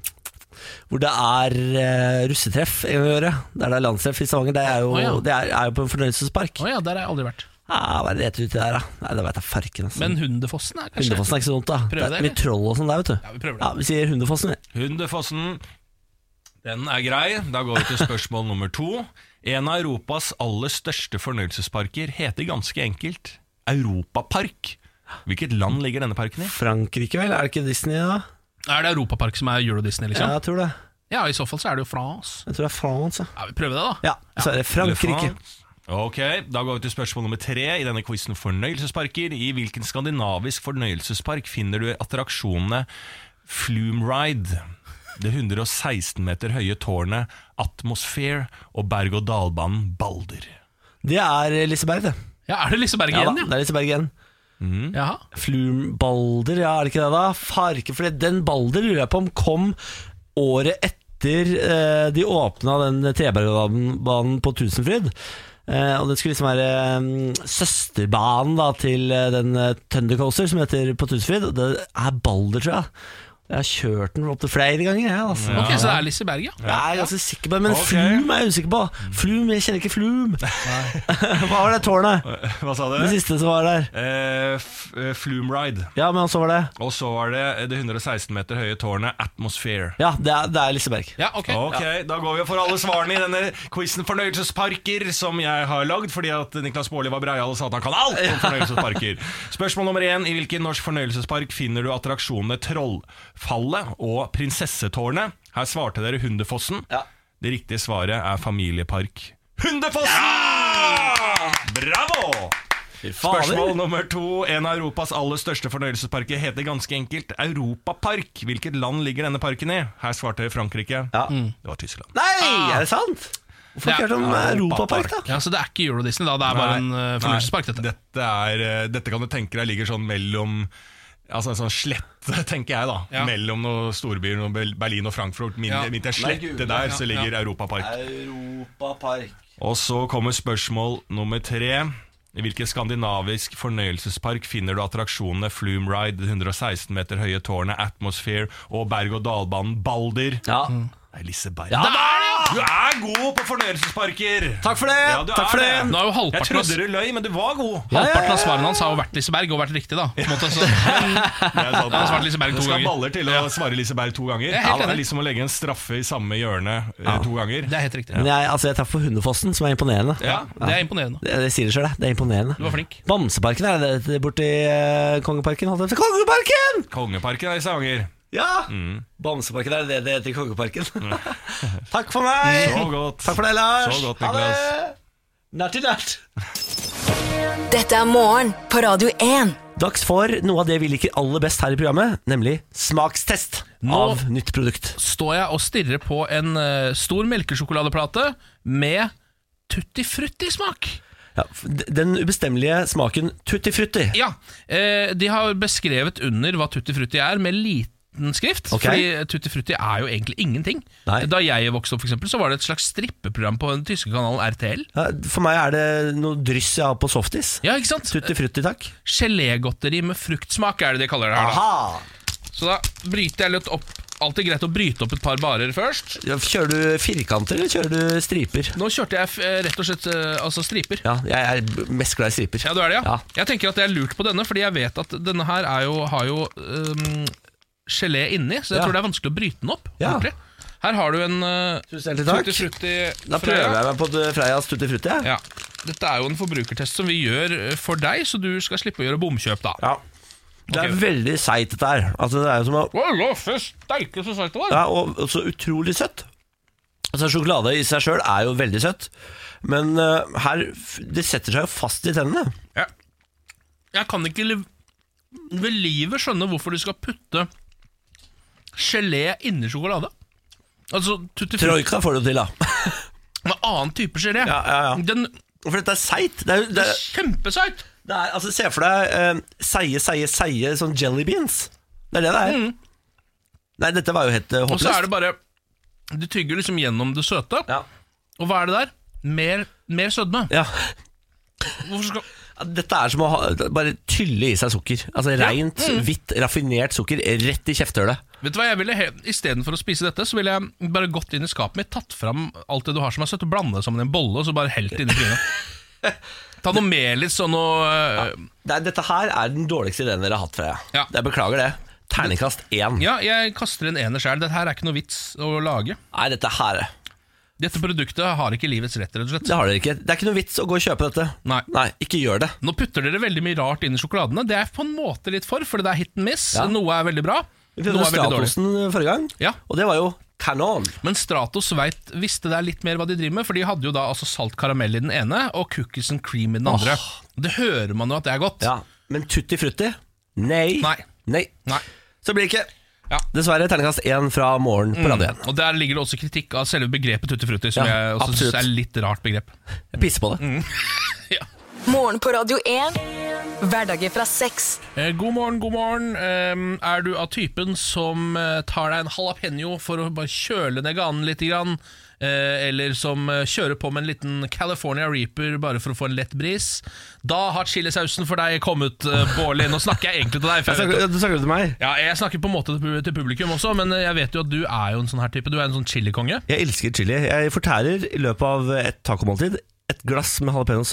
A: Hvor det er eh, russetreff en gang i året. Der det er landstreff i Stavanger. Det er jo,
B: Å, ja.
A: det er, er jo på en fornøyelsespark.
B: Å ja, der har jeg aldri vært.
A: Ah, hva er det rett uti der, da? Nei, det veit jeg farken. Altså.
B: Men Hundefossen er kanskje
A: Hundefossen er ikke så dumt, da.
B: Prøv
A: det
B: det,
A: er mye
B: eller?
A: troll og sånn der, vet du.
B: Ja, vi prøver
A: Ja,
B: det.
A: Vi sier Hundefossen, vi.
E: Hundefossen, den er grei. Da går vi til spørsmål nummer to. En av Europas aller største fornøyelsesparker heter ganske enkelt Europapark. Hvilket land ligger denne parken i?
A: Frankrike, vel? Er det ikke Disney, da?
B: Er det Europapark som er Euro-Disney,
A: Ja,
B: liksom?
A: jeg tror det.
B: Ja, i så fall så er det jo France.
A: Jeg tror det er France. ja.
B: Ja, Vi prøver det, da.
A: Ja, så er det Frankrike.
E: Ok, Da går vi til spørsmål nummer tre i denne quizen fornøyelsesparker. I hvilken skandinavisk fornøyelsespark finner du attraksjonene Flumeride, det 116 meter høye tårnet Atmosphere og berg-og-dal-banen Balder?
A: Det er Liseberg, det.
B: Ja, Er det Liseberg
A: Ja, da,
B: igjen,
A: det
B: ja?
A: er Liseberg igjen.
B: Jaha.
A: Flumbalder, ja, er det ikke det da? Farke, for den Balder lurer jeg på om kom året etter eh, de åpna den trebergbanen på Tusenfryd. Eh, og det skulle liksom være eh, søsterbanen da, til eh, den eh, Thunder Coaster som heter på Tusenfryd. og Det er Balder, tror jeg. Jeg har kjørt den opptil flere ganger. Jeg, altså.
B: Ok, Så det er Liseberg, ja.
A: Jeg er ganske sikker på det, men
E: Ok.
A: Flum er jeg usikker på. Flum, Jeg kjenner ikke Flum. (laughs) Hva var det tårnet?
E: Hva sa
A: Det
E: du?
A: siste som var der.
E: Eh, f- eh, Flume Ride.
A: Ja, men så var det
E: Og så var det det 116 meter høye tårnet Atmosphere.
A: Ja, det er, det er Liseberg.
B: Ja, ok,
E: Ok,
B: ja.
E: Da går vi for alle svarene i denne quizen fornøyelsesparker som jeg har lagd fordi at Niklas Baarli var breial og sa at han kan alt
B: (laughs)
E: om fornøyelsesparker. Spørsmål nummer én. I hvilken norsk fornøyelsespark finner du attraksjonene Trollfallet og Prinsessetårnet? Her svarte dere Hundefossen.
A: Ja.
E: Det riktige svaret er Familiepark Hundefossen! Bravo!
A: Fy fader.
E: Spørsmål nummer to. En av Europas aller største fornøyelsesparker heter ganske enkelt Europapark. Hvilket land ligger denne parken i? Her svarte Frankrike.
A: Ja.
E: Det var Tyskland.
A: Nei, er det sant? Hvorfor har
B: Ja.
A: vi ikke hørt om eh, Europapark, da?
B: ja, Så det er ikke Euro Disney, da. Det er bare en uh, fornøyelsespark, dette.
E: Dette, er, eh, dette kan du tenke deg ligger sånn mellom Altså en sånn slette, (laughs) tenker jeg da
B: Ja.
E: Mellom noen storbyer, noen Bel- Berlin og Frankfurt Min,
B: Ja.
E: Midt i en slette
A: gud,
B: ja,
E: der, så
B: ja.
E: ligger Europapark
A: Europapark.
E: Og så kommer spørsmål nummer tre I hvilken skandinavisk fornøyelsespark Finner du attraksjonene Flume Ride, det 116 meter høye tårnet Atmosphere og berg- og dalbanen Balder
A: Ja.
E: Nei, Liseberg
A: Ja, da er det, ja!
E: Du er god på fornøyelsesparker
A: Takk for det!
E: Ja, du
A: Takk
E: er
A: for det!
E: det.
B: Nå er jo
E: Jeg
B: halvparten av
E: trodde du løy, men du var god
B: Halvparten av svarene hans har jo vært Liseberg, og vært riktig, da. På en måte, så.
E: Det er sant.
B: har svart Liseberg
E: Det
B: to
E: skal
B: ganger.
E: baller til å svare Liseberg to ganger.
B: er helt
E: det
B: enig.
E: er liksom å legge en straffe i samme hjørne eh, to ganger.
B: Det er helt riktig.
A: Men jeg, altså, jeg traff på Hundefossen, som er imponerende.
E: Ja.
B: Det er imponerende.
A: Det, det sier det sjøl, det. Det er imponerende.
B: Du var flink.
A: Bamseparken, er det det borti eh, Kongeparken? Holdt jeg på å si. Kongeparken!
E: Kongeparken er i Stavanger.
A: Ja!
E: Mm.
A: Bamseparken, er det det det heter i
E: (laughs)
A: Kongeparken? (laughs) Takk for meg!
E: Så godt.
A: Takk for deg, Lars.
E: Så godt, Niklas.
A: Nært i nært.
C: Dette er morgen på Radio 1.
A: Dags for noe av det vi liker aller best her i programmet, nemlig smakstest
B: Nå-
A: av nytt produkt.
B: Står jeg og stirrer på en eh, stor melkesjokoladeplate med tutti frutti-smak.
A: Ja, f- d- den ubestemmelige smaken tutti frutti.
B: Ja, eh, de har beskrevet under hva tutti frutti er med liten skrift,
A: Ok.
B: fordi tutti frutti er jo egentlig ingenting.
A: Nei.
B: Da jeg vokste opp for eksempel, så var det et slags strippeprogram på den tyske kanalen RTL.
A: Ja, for meg er det noe dryss jeg har på softis.
B: Ja, ikke sant?
A: Tutti frutti, takk.
B: Gelégodteri med fruktsmak er det de kaller det her.
A: Aha!
B: Da. Så da bryter jeg litt opp. Alltid greit å bryte opp et par barer først.
A: Ja, Kjører du firkanter, eller kjører du striper?
B: Nå kjørte jeg f- eh, rett og slett eh, altså striper.
A: Ja, jeg er b- mest glad i striper.
B: Ja, du er det, ja.
A: Ja.
B: Jeg tenker at jeg er lurt på denne, fordi jeg vet at denne her er jo, har jo øhm, gelé inni, så jeg
A: Ja.
B: tror det er vanskelig å bryte den opp.
A: Ja.
B: ordentlig. Her har du en uh,
A: Tusen hjertelig takk. Da prøver jeg meg på det Freias tutti frutti. jeg.
B: Ja. Dette er jo en forbrukertest som vi gjør øh, for deg, så du skal slippe å gjøre bomkjøp, da.
A: Ja. Det er
B: Ok.
A: veldig seigt, dette her. Altså, det er jo som å
B: Å, loffe steike, så søtt det var!
A: ja, og, og så utrolig søtt. Altså, sjokolade i seg sjøl er jo veldig søtt, men eh, her f- Det setter seg jo fast i tennene.
B: Ja. Jeg kan ikke liv ved livet skjønne hvorfor du skal putte gelé inni sjokolade. Altså tutti frutti
A: Troika får det jo til, da.
B: med annen type gelé.
A: Ja, ja, ja.
B: Den
A: For dette er seigt. Det er, jo- det er,
B: Kjempeseit!
A: det er, altså, se for deg eh, seige, seige, seige sånn jelly beans. Det er det det er. Nei, dette var jo helt eh,
B: Mm. Og så er det
A: håpløst.
B: bare Du tygger liksom gjennom det søte.
A: Ja.
B: Og hva er det der? Mer, mer sødme.
A: ja.
B: Hvorfor skal
A: Dette er som å ha, bare tylle i seg sukker. Altså Rent,
B: Mm.
A: hvitt, raffinert sukker rett i kjeftehullet.
B: Vet du hva, jeg ville he- Istedenfor å spise dette, så ville jeg bare gått inn i skapet mitt, tatt fram alt det du har som er søtt, og blande det sammen i en bolle, og så bare helt det inn i trynet. Ta noe melis og noe øh,
A: Nei, dette her er den dårligste ideen dere har hatt fra
B: Ja.
A: Jeg beklager det. Terningkast én.
B: Ja, jeg kaster en ener sjæl. Dette her er ikke noe vits å lage.
A: Nei, dette her
B: Dette produktet har ikke livets rett, rett og slett.
A: Det har dere ikke. Det er ikke noe vits å gå og kjøpe dette.
B: Nei.
A: ikke gjør det.
B: Nå putter dere veldig mye rart inn i sjokoladene. Det er jeg på en måte litt for, fordi det er hit and miss.
A: Ja.
B: Noe er veldig bra,
A: Vi
B: noe
A: prøvde
B: er veldig dårlig.
A: Stratosen eh, forrige gang,
B: Ja.
A: og det var jo kanon.
B: Men Stratos vet, visste der litt mer hva de driver med, for de hadde jo da altså salt karamell i den ene og cookies and cream i den andre. Det hører man jo at det er godt.
A: Ja. Men tutti frutti? Nei.
B: Nei. Nei.
A: Så blir det ikke.
B: Ja. Mm.
A: Dessverre terningkast én fra morgen på Radio 1.
B: Og Der ligger det også kritikk av selve begrepet tutti frutti, som
A: Ja,
B: jeg også
A: absolutt.
B: synes er litt rart begrep.
A: Jeg pisser på det.
B: Mm.
C: Morgen på Radio 1. Hverdager fra seks.
B: Eh, god morgen, god morgen. Eh, er du av typen som eh, tar deg en jalapeño for å bare kjøle ned ganen litt? Grann? eh, eller som eh, kjører på med en liten California Reaper bare for å få en lett bris, da har chilisausen for deg kommet, eh, Bårli. Nå snakker jeg egentlig til deg. for jeg
A: (laughs)
B: vet
A: Snakker, du snakker til meg.
B: ja, jeg snakker på en måte til pub- til publikum også, men eh, jeg vet jo at du er jo en sånn her type. Du er en sånn chilikonge.
A: Jeg elsker chili. Jeg fortærer i løpet av et tacomåltid et glass med jalapeños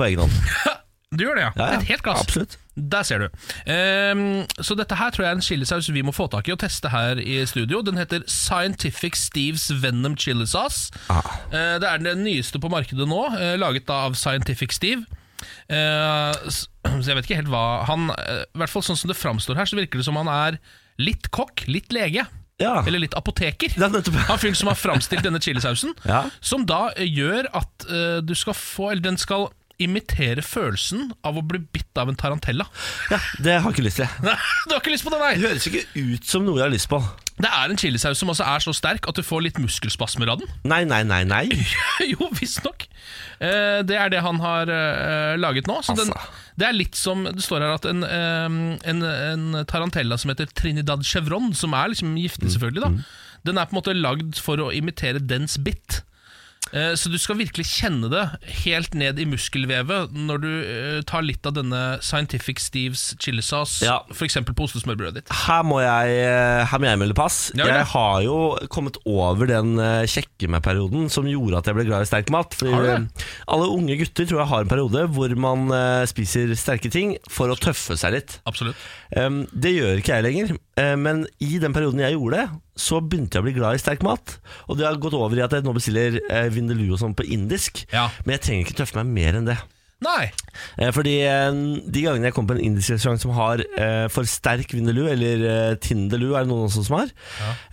A: på egen hånd.
B: Du gjør det, ja.
A: Ja, ja.
B: Et helt glass.
A: Absolutt.
B: Der ser du. Ehm, så dette her tror jeg er en chilisaus vi må få tak i og teste her i studio. Den heter Scientific Steves Venom Chili Sauce. Eh, det er den nyeste på markedet nå, eh, laget da av Scientific Steve. Eh, s- så jeg vet ikke helt hva han eh, I hvert fall sånn som det framstår her, så virker det som han er litt kokk, litt lege.
A: Ja.
B: Eller litt apoteker.
A: Ja, nettopp.
B: Han fyren som har framstilt denne chilisausen,
A: (laughs) Ja.
B: som da eh, gjør at eh, du skal få Eller den skal imitere følelsen av å bli bitt av en tarantella. (laughs)
A: Ja, det har jeg ikke lyst til.
B: Nei, du har ikke lyst på det,
A: Det
B: nei!
A: høres ikke ut som noe jeg har lyst på.
B: Det er en chilisaus som altså er så sterk at du får litt muskelspasmer av den.
A: Nei, nei, nei, nei.
B: (laughs) jo, visstnok. Eh, det er det han har eh, laget nå. Så den,
A: Altså.
B: det er litt som Det står her at en, eh, en, en tarantella som heter Trinidad Chevron, som er liksom
A: Mm.
B: giftig, selvfølgelig, da, den er på en måte lagd for å imitere dens bitt. Eh, Så du skal virkelig kjenne det helt ned i muskelvevet når du eh, tar litt av denne Scientific Steves chilisauce,
A: Ja.
B: for f.eks. på ostesmørbrødet ditt.
A: Her må jeg, eh, her må jeg melde pass.
B: Ja, ja.
A: Jeg har jo kommet over den eh, kjekke meg-perioden som gjorde at jeg ble glad i sterk mat. Fordi
B: Har du det?
A: eh, alle unge gutter tror jeg har en periode hvor man eh, spiser sterke ting for å tøffe seg litt.
B: Absolutt.
A: Um, det gjør ikke jeg lenger, Eh, men i den perioden jeg gjorde det, så begynte jeg å bli glad i sterk mat. Og det har gått over i at jeg nå bestiller eh, vindaloo og sånn på indisk,
B: Ja.
A: men jeg trenger ikke tøffe meg mer enn det.
B: Nei!
A: Eh, Fordi eh, de gangene jeg kommer på en indisk restaurant som har eh, for sterk vindaloo, eller eh, tindeloo er det noen også som har,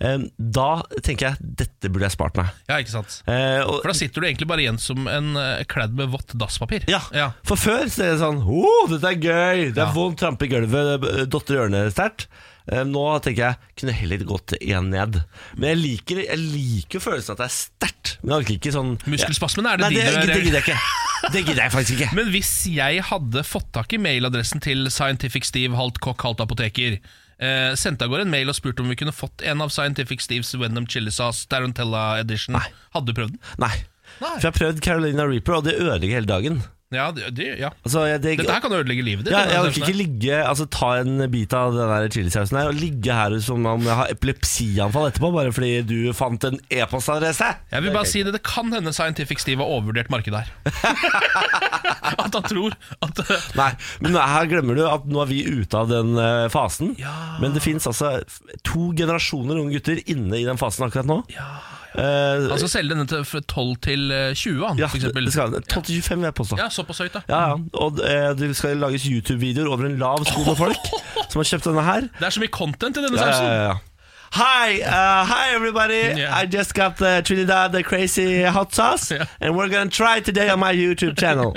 A: eh, da tenker jeg dette burde jeg spart meg.
B: Ja, ikke sant.
A: Eh, og,
B: For da sitter du egentlig bare igjen som en eh, kledd med vått dasspapir.
A: Ja, for før så er det sånn oh, dette er gøy, det er
B: Ja.
A: vondt, trampe i gulvet, det dotter i ørene sterkt. Eh, Nå tenker jeg kunne heller gått én ned. Men jeg liker, jeg liker følelsen at det er sterkt. Men jeg orker ikke sånn
B: Muskelspasmen, er det
A: Nei, det,
B: de du-
A: det gidder jeg ikke. Det gidder jeg faktisk
B: (laughs)
A: ikke.
B: Men hvis jeg hadde fått tak i mailadressen til Scientific Steve, halvt kokk, halvt apoteker, eh, sendte av gårde en mail og spurte om vi kunne fått en av Scientific Steves Venom Chili Sauce Tarantella Edition. Hadde du prøvd den?
A: Nei.
B: Nei.
A: For jeg har prøvd Carolina Reaper, og det ødelegger hele dagen.
B: Ja, det, det- ja.
A: Altså, jeg, det,
B: Dette her kan ødelegge livet ditt.
A: ja,
B: denne
A: jeg
B: sausen
A: orker
B: her.
A: ikke ligge Altså ta en bit av den der chilisausen her og ligge her som om jeg har epilepsianfall etterpå, bare fordi du fant en e-postadresse.
B: Jeg vil bare si det, det kan hende Scientific Steve har overvurdert markedet
A: (laughs)
B: her. at han tror at eh,
A: Nei, men nå- her glemmer du at nå er vi ute av den eh, fasen.
B: Ja.
A: Men det fins altså f- to generasjoner unge gutter inne i den fasen akkurat nå. Eh,
B: Han skal selge denne til fra 12 til eh, 20, han,
A: ja,
B: Altså, for eksempel.
A: det skal 12-25 vil jeg påstå.
B: Ja, såpass høyt, da.
A: Ja, ja. Og eh, det skal lages YouTube-videoer over en lav sko med
B: (laughs)
A: folk som har kjøpt denne her.
B: Det er så mye content i denne
A: Ja,
B: sausen.
A: ja, ja. Hi, uh, hi everybody.
B: Yeah.
A: I just got the Trinidad the crazy hot sauce,
B: Yeah.
A: and we're gonna try it today on my YouTube
B: (laughs)
A: channel.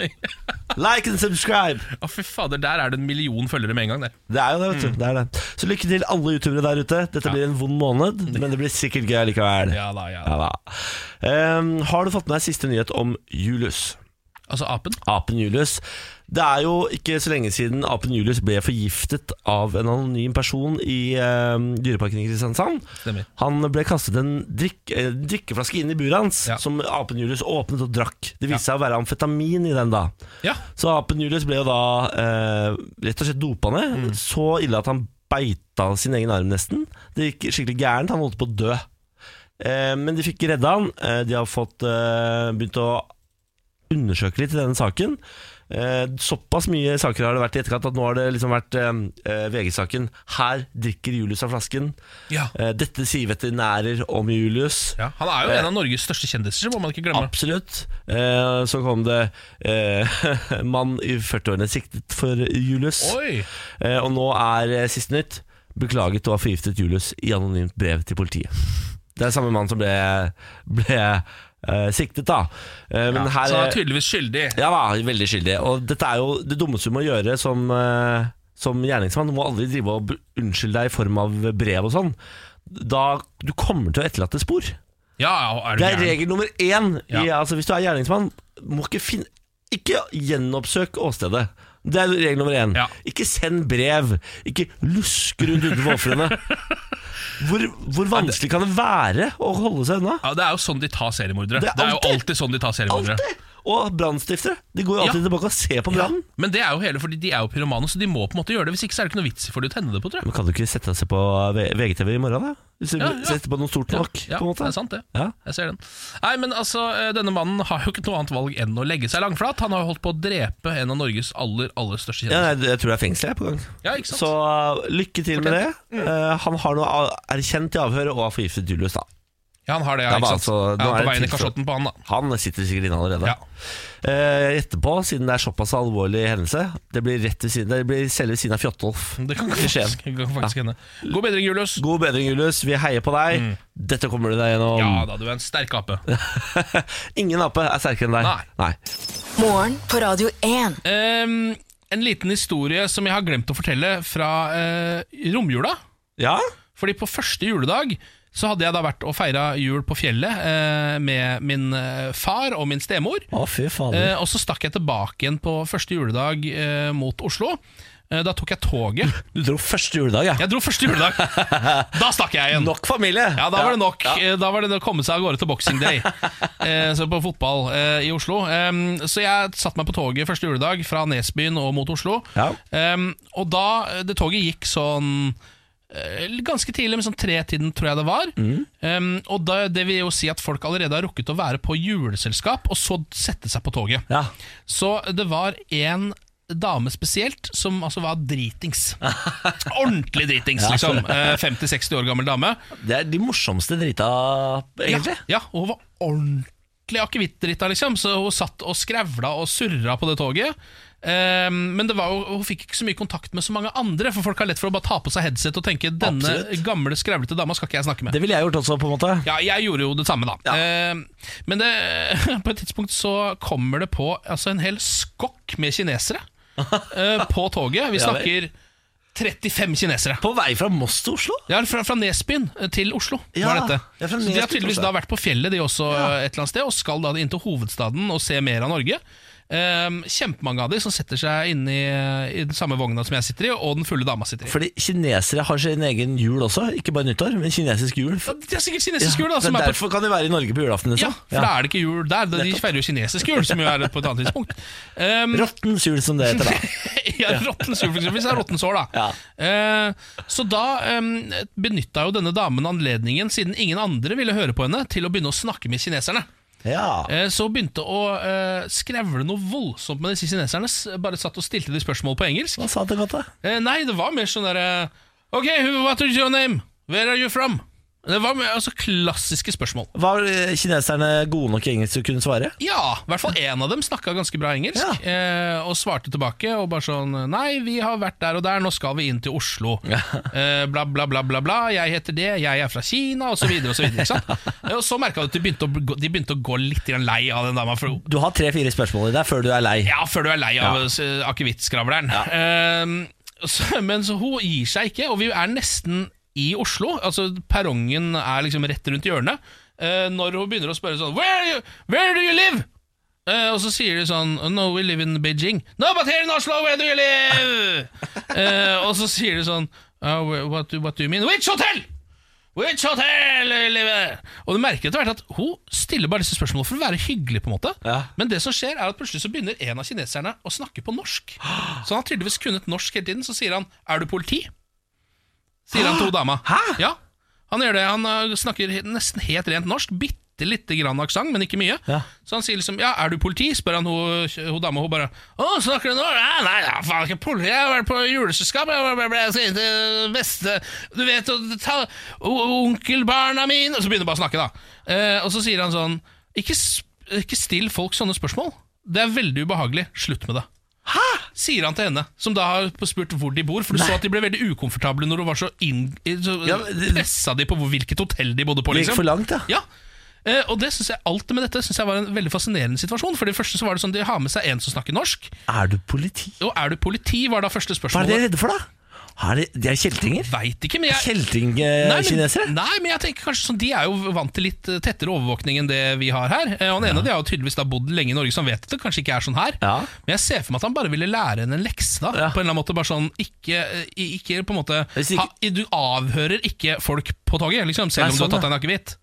A: Like and subscribe.
B: Å, fy fader, der er det en million følgere med en gang, der.
A: Det er jo det, vet du.
B: Mm.
A: Det er det. Så lykke til alle youtubere der ute. Dette blir en vond
B: (laughs)
A: måned, men det blir sikkert gøy likevel.
B: Ja da, ja
A: Ja
B: da.
A: da. Ehm, har du fått med deg siste nyhet om Julius?
B: Altså apen?
A: Apen Julius. Det er jo ikke så lenge siden apen Julius ble forgiftet av en anonym person i ehm, dyreparken i Kristiansand.
B: Stemmer.
A: Han ble kastet en drikk, eh, drikkeflaske inn i buret hans,
B: Ja.
A: som apen Julius åpnet og drakk. Det viste seg å være amfetamin i den da.
B: Ja.
A: Så apen Julius ble jo da eh, rett og slett dopa ned. Så ille at han beita sin egen arm nesten. Det gikk skikkelig gærent. Han holdt på å dø. Eh, men de fikk redda han. Eh, de har fått eh, begynt å undersøke litt i denne saken. Eh, såpass mye saker har det vært i etterkant at nå har det liksom vært eh, eh, VG-saken. Her drikker Julius av flasken. Eh, dette sier veterinærer om Julius.
B: Ja, Han er jo en av Norges største kjendiser, må man ikke glemme.
A: Absolutt. Eh, så kom det eh, (laughs) 'mann i 40-årene siktet for Julius'.
B: Oi!
A: Eh, og nå er eh, siste nytt. Beklaget å ha forgiftet Julius i anonymt brev til politiet. Det er samme mann som ble, ble eh, siktet, da. Eh, men
B: Ja,
A: her
B: så han er tydeligvis skyldig.
A: Ja da, veldig skyldig. Og dette er jo det dummeste du må gjøre som, eh, som gjerningsmann. Du må aldri drive og b- unnskylde deg i form av brev og sånn. Da Du kommer til å etterlate spor.
B: Ja, ja, er du
A: Det er
B: gæren?
A: regel nummer én. I,
B: Ja.
A: altså, hvis du er gjerningsmann, må ikke finne Ikke gjenoppsøk åstedet. Det er regel nummer én.
B: Ja.
A: Ikke send brev. Ikke lusk rundt utenfor ofrene. Hvor, hvor vanskelig kan det være å holde seg unna?
B: Ja, Det er jo sånn de tar seriemordere.
A: Det er
B: Det er, jo
A: alltid-
B: alltid sånn de tar seriemordere.
A: Alltid! Og brannstiftere. De går jo alltid
B: Ja.
A: tilbake og ser på brannen.
B: Men det er jo hele fordi de er jo pyromane, så de må på en måte gjøre det. Hvis ikke så er det ikke noe vits for de å tenne det på, tror jeg.
A: Men kan du ikke sette seg på V- VGTV i morgen, da? Hvis du
B: Ja, ja.
A: setter på noe stort
B: Ja,
A: nok,
B: ja,
A: på en måte.
B: det er sant, det.
A: Ja.
B: Jeg ser den. Nei, men altså, eh, Denne mannen har jo ikke noe annet valg enn å legge seg langflat. Han har jo holdt på å drepe en av Norges aller aller største
A: Ja,
B: kjendiser.
A: nei, jeg tror det er fengsel jeg er på gang.
B: Ja, ikke sant? Mm.
A: Så uh, lykke til med det. Uh, han har nå a- erkjent i avhøret og har forgiftet Julius, da.
B: ja, han har det, ja,
A: Ja,
B: ikke
A: men
B: sant?
A: altså, nå er
B: ja, på
A: det
B: veien i
A: tilfelle.
B: kasjotten på han, da.
A: Han sitter sikkert inne allerede.
B: Ja.
A: Eh, etterpå, siden det er såpass alvorlig hendelse, det blir rett ved siden Det blir selv ved siden av Fjotolf.
B: Det kan
A: I Skien.
B: faktisk, det kan faktisk hende. God bedring, Julius.
A: God bedring, Julius. Vi heier på deg. Dette kommer du deg gjennom.
B: Mm. Ja da, du er en sterk ape.
A: (laughs) Ingen ape er sterkere enn deg.
B: Nei.
C: Morgen på Radio 1.
B: Ehm, en liten historie som jeg har glemt å fortelle fra eh, romjula.
A: Ja?
B: Fordi på første juledag så hadde jeg da vært og feira jul på fjellet eh, med min eh, far og min stemor.
A: Å, fy fader.
B: Eh, og så stakk jeg tilbake igjen på første juledag eh, mot Oslo. Eh, da tok jeg toget.
A: du dro første juledag, ja.
B: Jeg dro første juledag. Da stakk jeg igjen.
A: Nok familie!
B: Ja, da var det nok. Eh, Da var det å komme seg av gårde til Boxing (laughs) Day eh, så på fotball eh, i Oslo. Em, så jeg satte meg på toget første juledag fra Nesbyen og mot Oslo.
A: Ja.
B: Em, og da eh, Det toget gikk sånn eh, Ganske tidlig, men sånn tre-tiden tror jeg det var. Em, og da, det vil jo si at folk allerede har rukket å være på juleselskap, og så sette seg på toget.
A: Ja.
B: Så det var en dame spesielt som altså var (laughs) dritings. Ordentlig dritings, liksom. Eh, 50-60 år gammel dame.
A: Det er de morsomste drita, egentlig.
B: Ja, ja, og hun var ordentlig akevittdrita, liksom. Så hun satt og skrevla og surra på det toget. Ehm, men det var jo, hun fikk ikke så mye kontakt med så mange andre, for folk har lett for å bare ta på seg headset og tenke 'denne
A: Absolutt.
B: gamle, skrevlete dama skal ikke jeg snakke med'.
A: Det ville jeg gjort også, på en måte.
B: Ja, jeg gjorde jo det samme, da.
A: Ja.
B: Eh, men det, (laughs) på et tidspunkt så kommer det på altså, en hel skokk med
A: (laughs)
B: kinesere eh, på toget. Vi
A: Ja vel.
B: snakker 35 kinesere.
A: På vei fra Moss til Oslo?
B: Ja, fra, fra Nesbyen eh, til Oslo
A: Ja,
B: var dette.
A: ja, fra
B: så de
A: Nesbyen
B: har
A: til
B: tydeligvis
A: Oslo.
B: da vært på fjellet de også eh, et eller annet sted, og skal da inn til hovedstaden og se mer av Norge. Um, kjempemange av de som setter seg inn i, i den samme vogna som jeg sitter i, og den fulle dama sitter i.
A: Fordi kinesere har sin egen jul også, ikke bare nyttår, men kinesisk jul.
B: Ja, Det er sikkert kinesisk jul, da.
A: Men
B: Som er på
A: derfor kan de være i Norge på julaften.
B: Ja,
A: Liksom.
B: for da er det ikke jul der. De feirer jo kinesisk jul, som jo er på et annet tidspunkt. Um,
A: Rottens jul, som det heter. da
B: (laughs) ja, Rottens jul, for eksempel. Hvis det er rottens år, da.
A: Ja.
B: Eh, så da um, benytta jo denne damen anledningen, siden ingen andre ville høre på henne, til å begynne å snakke med kineserne.
A: Ja.
B: Eh, så hun begynte å eh, skrevle noe voldsomt med disse kineserne. s- Bare satt og stilte de spørsmål på engelsk.
A: Hva sa det godt, da?
B: Eh, nei, det var mer sånn derre Ok, who- what is your name? Where are you from? Det var mer, altså klassiske spørsmål.
A: Var eh, kineserne gode nok i engelsk til å kunne svare?
B: Ja, i hvert fall én av dem snakka ganske bra engelsk eh, og svarte tilbake. Og bare sånn Nei, vi har vært der og der, nå skal vi inn til Oslo. Eh, bla, bla, bla, bla, bla. Jeg heter det, jeg er fra Kina, osv. Og så, videre, ikke sant? Eh, og så merka du at de begynte, å, bli- de begynte å gå litt grann lei av den dama. For
A: Du har tre-fire spørsmål i deg før du er lei.
B: ja, før du er lei av eh, akevittsskravleren. Ehm, så- men så hun gir seg ikke, og vi er nesten i Oslo. Altså Perrongen er liksom rett rundt hjørnet. eh, når hun begynner å spørre sånn Where, are you, where do you live? Eh, og så sier de sånn "Oh, No, we live in Beijing. No, but here in Oslo, where do you live? Eh, og så sier de sånn "Oh, wh- what, do- what do you mean? Which hotel? Which hotel you live at?" Og du merker etter hvert at hun stiller bare disse spørsmålene for å være hyggelig. på en måte
A: Ja.
B: Men det som skjer er at plutselig så begynner en av kineserne å snakke på norsk. Så han har tydeligvis kunnet norsk hele tiden. Så sier han 'er du politi?' Sier han til hun dama.
A: Hæ?
B: Ja, han gjør det. Han eh, snakker he- nesten helt rent norsk. Bitte lite grann aksent, men ikke mye.
A: Ja.
B: Så han sier liksom 'ja, er du politi?' spør han hun, hun dama. Hun bare 'å, snakker du nå?' Nei, nei, jeg er faen ikke politi. Jeg har vært på juleselskap. Jeg ble- ble- ble- Jeg skal inn til beste Du vet, og ta o- onkelbarna mine Og så begynner hun bare å snakke, da. Eh, og så sier han sånn ikke, sp- ikke still folk sånne spørsmål. Det er veldig ubehagelig. Slutt med det. Sier han til henne, som da har spurt hvor de bor. For du så at de ble veldig ukomfortable når hun var så, inn, så
A: Ja, men det-
B: pressa de på hvor- hvilket hotell de bodde på.
A: Det gikk for
B: Liksom.
A: langt, ja.
B: Ja. Eh, og det synes jeg, Alt det med dette synes jeg var en veldig fascinerende situasjon. For det første så var det sånn De har med seg en som snakker norsk.
A: Er du politi?
B: Og er du politi, var da første
A: Hva er det
B: spørsmålet.
A: de er redde for, da? Har de, de er kjeltringer?
B: Veit ikke, men jeg
A: Eh,
B: Nei, men-
A: Kjeltingkinesere?
B: Nei, men jeg tenker kanskje sånn, De er jo vant til litt eh, tettere overvåkning enn det vi har her. Eh, Og Den ene de har jo tydeligvis da bodd lenge i Norge, så han vet at det kanskje ikke er sånn her.
A: Ja.
B: Men jeg ser for meg at han bare ville lære henne en lekse. da
A: Ja.
B: På en eller annen måte bare sånn Ikke, eh, ikke på en måte
A: Hvis ikke-
B: ha, Du avhører ikke folk på toget, liksom, selv
A: Nei,
B: om du
A: sånn,
B: har tatt
A: ja.
B: deg en akevitt.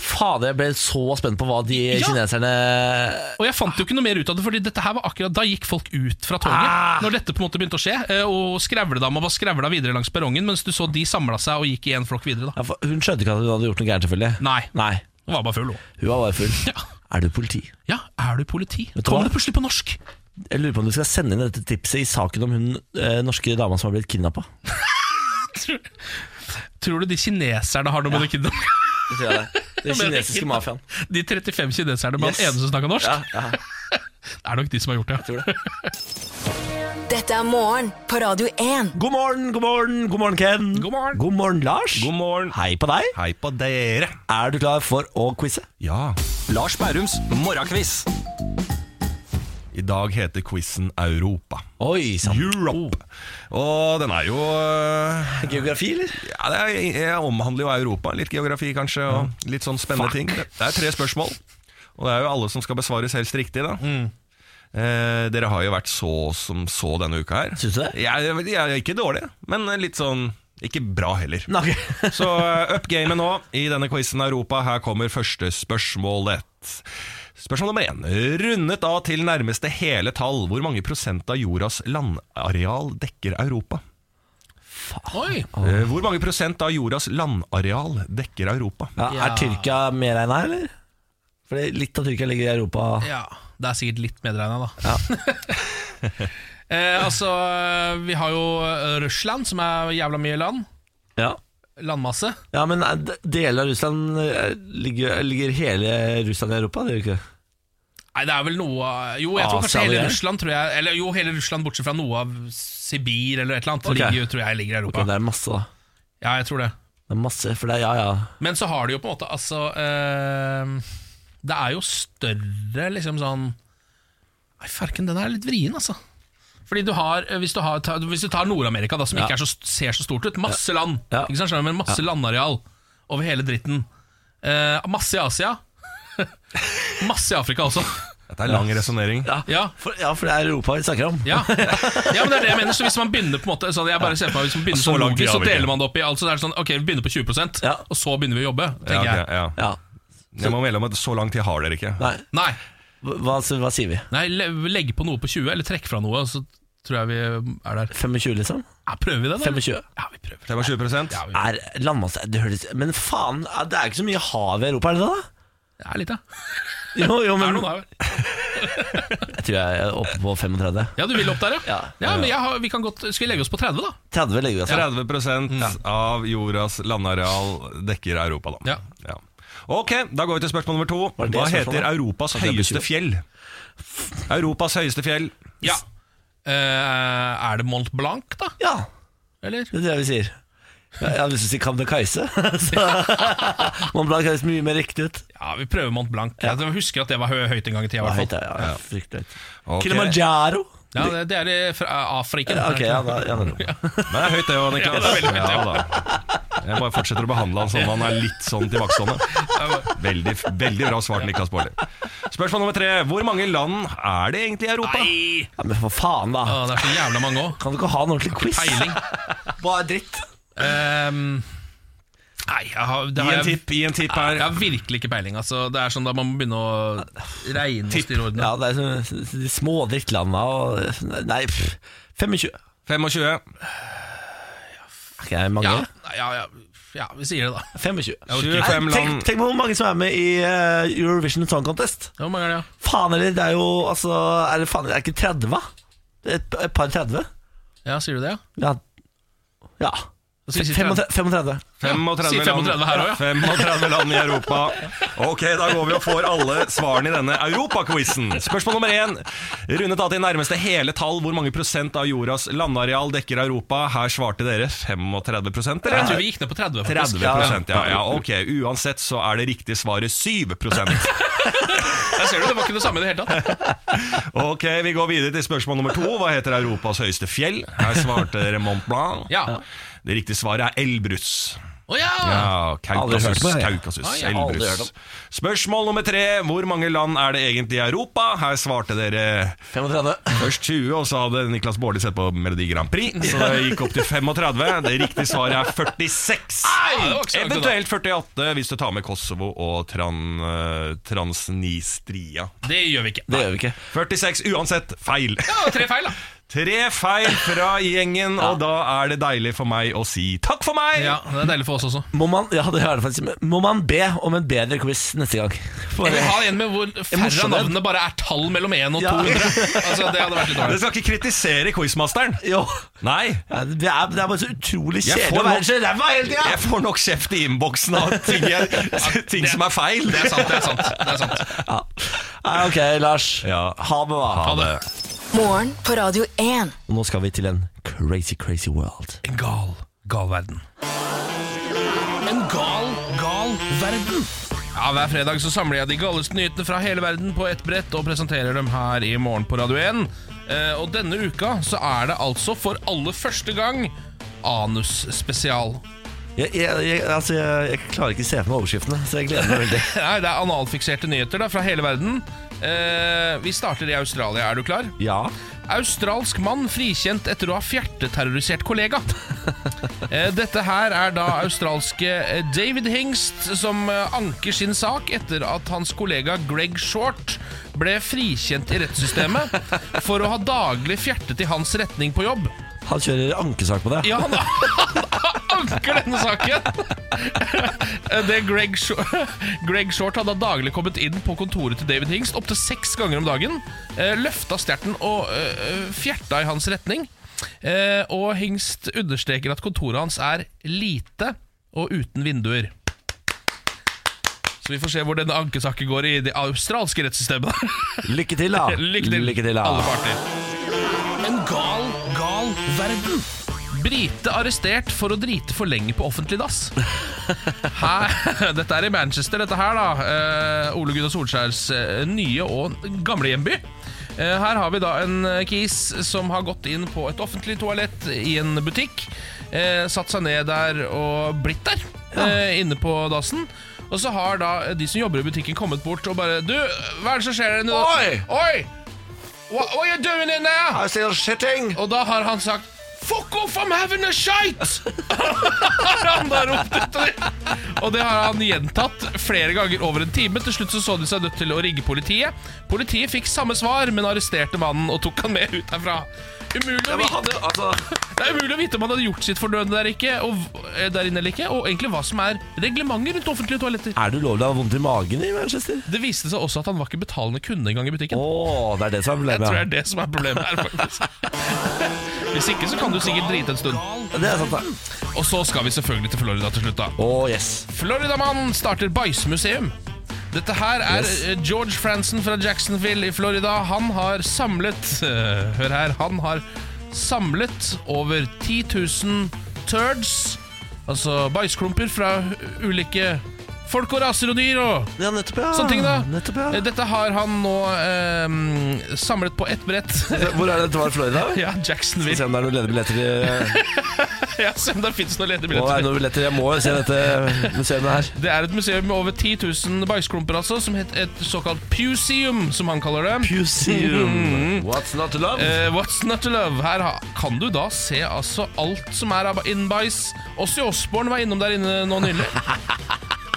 A: Fader, jeg ble så spent på hva de
B: Ja.
A: kineserne
B: Og jeg fant jo ikke noe mer ut av det, Fordi dette her var akkurat da gikk folk ut fra toget.
A: Ah.
B: Når dette på en måte begynte å skje, eh, og skrevledama var skrevla videre langs perrongen, mens du så de samla seg og gikk i en flokk videre. da
A: ja, for Hun skjønte ikke at hun hadde gjort noe gærent, selvfølgelig.
B: Nei,
A: Nei,
B: hun var bare full, hun.
A: hun var bare full.
B: Ja.
A: Er du politi?
B: Ja, er du politi?
A: Vet du hva?
B: Kommer det plutselig på norsk?
A: Jeg lurer på om du skal sende inn dette tipset i saken om hun eh, norske dama som har blitt kidnappa.
B: Tror du de kineserne har noe med det
A: (laughs)
B: kidnappet?
A: Den kinesiske mafiaen.
B: De 35 kineserne med
A: Yes.
B: den ene som snakker norsk?
A: Ja, ja,
B: (laughs) Det er nok de som har gjort det.
A: tror det.
C: Dette er morgen på Radio 1.
A: God morgen, god morgen, god morgen, Ken.
B: God morgen.
A: God morgen, Lars.
E: God morgen.
A: Hei på deg.
E: Hei på dere.
A: Er du klar for å quize?
E: Ja. Lars Bærums morgenkviss. I dag heter quizen Europa.
A: Oi sann.
E: Europe. Og den er jo øh,
A: Geografi, eller?
E: ja, det er, Jeg omhandler jo Europa. Litt geografi, kanskje, og litt sånn spennende ting. Det det er tre spørsmål, og det er jo alle som skal besvares helst riktig, da. Eh, dere har jo vært så som så denne uka her.
A: Syns du det?
E: Jeg, jeg, jeg er ikke dårlig, men litt sånn ikke bra heller.
A: Nei, ok. (laughs)
E: Så eh, up gamet nå i denne quizen Europa. Her kommer første spørsmålet. Spørsmål nummer én. Rundet av til nærmeste hele tall, hvor mange prosent av jordas landareal dekker Europa?
B: Oi,
E: Eh, Hvor mange prosent av jordas landareal dekker Europa?
A: Ja,
B: Ja.
A: er Tyrkia med regna, eller? Fordi litt av Tyrkia ligger i Europa.
B: ja, Det er sikkert litt medregna, da. (laughs) eh, altså, vi har jo eh, Russland, som er jævla mye land.
A: Ja,
B: Landmasse.
A: ja men eh, d- deler av Russland eh, ligger, ligger hele Russland i Europa? Det gjør ikke det?
B: Nei, det er vel noe av- Jo, jeg tror
A: Asia,
B: kanskje hele
A: det er.
B: Russland, tror jeg, eller jo, hele Russland bortsett fra noe av Sibir eller et eller annet,
A: Ok.
B: ligger, jo- tror jeg ligger i
A: Ok,
B: Europa.
A: det er masse, da.
B: Ja, jeg tror det.
A: Det er masse, for det er ja, ja.
B: Men så har du jo på en måte altså eh, Det er jo større liksom sånn Nei, farken, den er litt vrien, altså. Fordi du har, eh, Hvis du, har, ta- hvis du tar Nord-Amerika, da, som
A: Ja.
B: ikke er så, ser så stort ut Masse land,
A: Ja.
B: ikke sant, skjønner du, men masse landareal over hele dritten. Eh, masse i Asia. (laughs) masse i Afrika også.
E: Dette er lang resonnering.
B: Ja.
A: For, ja, for det er Europa vi snakker om.
B: Ja. ja, men det er det jeg mener. Så hvis man begynner på en måte så jeg bare ser på meg, Hvis man begynner
E: Så
B: sånn
E: langt
B: logisk, så
E: graver vi ikke.
B: deler man det opp i altså det er sånn, Ok, vi begynner på 20
A: Ja.
B: og så begynner vi å jobbe.
E: Ja,
B: Tenker
E: ok,
B: jeg
E: ja.
A: Ja.
E: Jeg må melde om at så lang tid har dere ikke.
A: Nei,
B: Nei,
A: hva, hva sier vi?
B: Nei, le- legg på noe på 20, eller trekk fra noe, så tror jeg vi er der.
A: 25, liksom?
B: Ja, prøver vi det, da?
A: 25?
B: Ja, vi prøver.
E: 25
B: Ja, vi prøver.
A: Er landmasse det høres, Men faen, er- det er ikke så mye hav i Europa, er det det? da?
B: Det er litt, ja.
A: Jo, jo,
B: (laughs) Det
A: men
B: er noen der.
A: jeg tror jeg er oppe på 35.
B: Ja, du vil opp der, ja?
A: Ja.
B: Ja, men jeg har, vi kan godt, Skal vi legge oss på 30, da?
A: 30 legger vi oss.
E: 30
B: Mm.
E: av jordas landareal dekker Europa, da.
B: Ja.
E: Ok, da går vi til spørsmål nummer to.
A: det
E: Hva
A: spørsmålet?
E: heter Europas
A: det er
E: høyeste
A: bekymring.
E: fjell? Europas høyeste fjell.
B: Ja. Eh, er det Mont Blanc, da?
A: Ja,
B: Eller?
A: det er det vi sier. Jeg jeg hadde lyst til å si (laughs) Kamdekaise.
B: (laughs)
A: så- Mont Blanc høres mye mer riktig ut.
B: Ja, vi prøver Mont Blanc. Jeg husker at det var hø- høyt en gang i tida. i
A: Ja,
B: hvert
A: høyt,
B: fall.
A: ja, ja, fryktelig høyt.
E: Ok.
A: Kilimanjaro.
B: Ja, det, det er i fra Afrika.
A: Ja, Ok, ja, da, ja,
B: (laughs)
A: da.
E: Men det er høyt, det òg, Niklas.
B: Ja, det er veldig høyt,
E: Ja, da. Jeg bare fortsetter å behandle han som han er litt sånn tilbakestående. Veldig, veldig bra svart, Niklas Baarli. Spørsmål nummer tre. Hvor mange land er det egentlig i Europa?
B: Nei!
A: Ja, men for faen,
B: Å,
A: da.
B: det er så jævla mange òg.
A: Kan du ikke ha en ordentlig quiz? (laughs)
B: Peiling.
A: Bare dritt.
B: Ehm, nei, jeg har, det
E: Gi
B: har
E: en
B: jeg
E: tipp, gi en tipp
B: Jeg
E: her.
B: har virkelig ikke peiling. Altså. Det er sånn da Man må begynne å regne og styre ordene.
A: Ja, det er sånn- de små drittlanda og Nei, pff, 25.
E: 25.
A: Er ikke det mange?
B: Ja, nei, ja, ja, ja, vi sier det, da.
A: 25.
B: orker ikke.
E: 25
A: Nei, tenk,
E: land.
A: tenk på hvor mange som er med i eh, Eurovision Song Contest.
B: Hvor mange er det,
A: Faen eller, det er jo altså, er det, faen, er det ikke 30, hva? Et, et par 30?
B: ja? ja sier du det, ja?
A: Ja. ja.
B: Så vi sitter her-
A: 35.
B: Si
E: 35
B: 35 her også, ja.
E: 35 land i Europa. Ok, da går vi og får alle svarene i denne Europaquizen. Spørsmål nummer én. Rundet av til nærmeste hele tall, hvor mange prosent av jordas landareal dekker Europa? Her svarte dere 35 prosent,
B: Jeg tror
E: eller?
B: vi gikk ned på 30, faktisk.
E: 30 prosent, ja, ja. Ok, uansett så er det riktige svaret 7 prosent.
B: Der ser du, det var ikke det samme i det hele tatt.
E: Ok, vi går videre til spørsmål nummer to. Hva heter Europas høyeste fjell? Her svarte dere Mont Blanc.
B: Ja.
E: Det riktige svaret er Elbrus.
B: Å ja!
E: Ja,
A: Aldri hørt
E: Kaukasus.
A: om det, jeg.
E: Kaukasus
B: Nei, jeg har
A: aldri hørt
E: Elbrus.
A: om.
E: Spørsmål nummer tre. Hvor mange land er det egentlig i Europa? Her svarte dere
A: 35.
E: først 20, og så hadde Niklas Baarli sett på Melodi Grand Prix, så det gikk opp til 35. Det riktige svaret er 46.
B: Ja, Ah, det var ikke så langt unna.
E: Eventuelt 48 hvis du tar med Kosovo og tran, eh, Transnistria.
B: Det gjør vi ikke.
A: Det gjør vi ikke.
E: 46 uansett feil.
B: Ja, tre feil, da.
E: Tre feil fra gjengen, og da er det deilig for meg å si takk for meg!
B: Ja, Det er deilig for oss også.
A: Må man, ja, det er det faktisk, men må man be om en bedre quiz neste gang? For,
B: Eller ha en med hvor færre av
A: morsom en.
B: navnene bare er tall mellom 1 og
A: Ja.
B: 200. Altså, Det hadde vært litt
E: Dere
B: dårlig.
E: skal ikke kritisere quizmasteren.
A: jo.
E: Nei.
A: Ja, det, er, det er bare så utrolig
E: Jeg
A: kjedelig
E: får
A: å være
E: nok-
A: så ræva hele tida!
E: Jeg får nok kjeft i innboksen av ting, jeg, ting som er feil.
B: (laughs) Det er sant, det er sant. det er sant
A: Ja. Nei, Ok, Lars.
E: Ja.
A: Ha det, da.
B: Ha det.
C: Morgen på Radio 1.
A: Og nå skal vi til en crazy, crazy world.
B: En gal, gal verden. En gal, gal verden. Ja, Hver fredag så samler jeg de galeste nyhetene fra hele verden på ett brett og presenterer dem her i morgen på Radio 1. Eh, og denne uka så er det altså for aller første gang anusspesial.
A: Jeg, jeg, jeg, altså, jeg, jeg klarer ikke å se for meg overskriftene, så jeg gleder meg veldig.
B: Nei, det er analfikserte nyheter da fra hele verden. Eh, vi starter i Australia. Er du klar?
A: Ja.
B: Australsk mann frikjent etter å ha fjerteterrorisert kollega. Eh, Dette her er da australske eh, David Hingst som eh, anker sin sak etter at hans kollega Greg Short ble frikjent i rettssystemet for å ha daglig fjertet i hans retning på jobb.
A: Han kjører ankesak på det.
B: Ja, han, han anker denne saken! Det Greg, Short, Greg Short hadde daglig kommet inn på kontoret til David Hingst opptil seks ganger om dagen. eh, Løfta stjerten og eh, fjerta i hans retning. Eh, Og Hingst understreker at kontoret hans er lite og uten vinduer. Så vi får se hvor denne ankesaken går i det australske rettssystemet.
A: Lykke til, da.
B: Lykke til,
A: Ah, (laughs) Lykke til da.
B: alle parter. En gal, gal verden. Brite arrestert for å drite for lenge på offentlig dass. Her, (laughs) dette er i Manchester, dette her, da. Eh, Ole Gunnar Solskjærs eh, nye og gamle hjemby. Eh, her har vi da en eh, kis som har gått inn på et offentlig toalett i en butikk. Eh, satt seg ned der og blitt der, eh, inne på dassen. Og så har da eh, de som jobber i butikken, kommet bort og bare Du, hva er det som skjer der inne?
A: Oi!
B: Oi! What, what are you doing in there?
A: I still shitting.
B: Og da har han sagt Fuck off, I'm having a shite! (laughs) Har han da ropt etter dem. Og det har han gjentatt flere ganger over en time. Til slutt så, så de seg nødt til å rigge politiet. Politiet fikk samme svar, men arresterte mannen og tok han med ut herfra. Umulig å vite,
A: altså.
B: det er umulig å vite om han hadde gjort sitt fordøde der, ikke, og, eh, der inne eller ikke, og egentlig hva som er reglementet rundt offentlige toaletter.
A: Er det ulovlig å ha vondt i magen i Manchester?
B: Det viste seg også at han var ikke betalende kunde engang i butikken.
A: Å, det er det som er
B: Jeg
A: problemet.
B: tror det er det som er problemet her, faktisk. (laughs) Hvis ikke så kan du sikkert drite en stund.
A: ja. Det er sant, da.
B: Og så skal vi selvfølgelig til Florida til slutt, da.
A: Å, yes.
B: Floridamann starter bæsjmuseum. Dette her er
A: Yes.
B: eh, George Franson fra Jacksonville i Florida. Han har samlet eh, Hør her. Han har samlet over 10 000 turds, altså bæsjklumper fra u- ulike folk og raser og dyr og
A: Ja, nettopp, ja.
B: sånne ting, da.
A: Nettopp, ja.
B: Eh, Dette har han nå eh, samlet på ett brett. (laughs)
A: Eh, Hvor er det dette var i Florida?
B: ja,
A: Skal vi
B: Jacksonville.
A: se om det er noen ledige billetter i eh,
B: (laughs) Ja, se om det fins noen
A: Å,
B: ledige
A: er det
B: billetter.
A: noen billetter? Jeg må jo se dette museet her.
B: Det er et museum med over 10 000 bæsjklumper, altså, som heter et såkalt puseum, som han kaller det.
A: Museum. (laughs) What's not to love?
B: Eh, what's not to love? Her ha- kan du da se altså alt som er av innbæsj. Også Osborn var innom der inne nå nylig.
A: (laughs)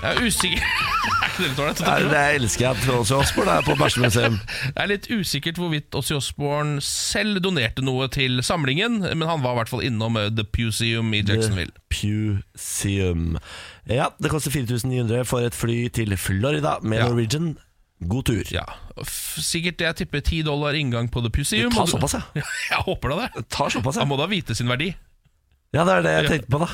B: Jeg er usikker (laughs) Er ikke det litt ålreit?
A: Nei, det elsker jeg at Trolls og Osborn er på bæsjemuseum.
B: Det er litt usikkert hvorvidt Ossi Osborn selv donerte noe til samlingen, men han var i hvert fall innom eh, The Puseum i Jacksonville.
A: Puseum. Ja, det koster 4900 for et fly til Florida med
B: Ja.
A: Norwegian. God tur.
B: Ja, f sikkert jeg tipper 10 dollar inngang på The Puseum.
A: Ta
B: og du- (laughs)
A: såpass, ja.
B: Jeg håper da det.
A: Ta såpass,
B: Han
A: ja.
B: må da vite sin verdi.
A: Ja, det er det jeg tenkte på, da.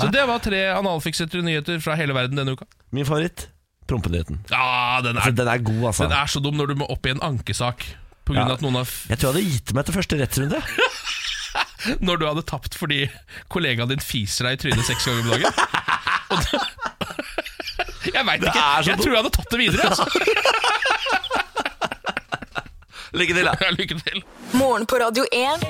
B: Så det var tre analfiksete nyheter fra hele verden denne uka.
A: (laughs) Min favoritt prompenyheten.
B: Ja, den
A: Altså,
B: er,
A: den er god, altså.
B: den er så dum når du må opp i en ankesak. På grunn av
A: Ja.
B: at noen har f (laughs)
A: Jeg tror jeg hadde gitt meg til første rettsrunde.
B: når du hadde tapt fordi kollegaen din fiser deg i trynet seks ganger om dagen. Og det, (laughs) jeg veit ikke.
A: er så
B: Jeg
A: dumt.
B: tror jeg hadde tatt det videre. Altså.
A: (laughs) Lykke til, da.
B: Ja, Lykke til.
C: Morgen på Radio 1.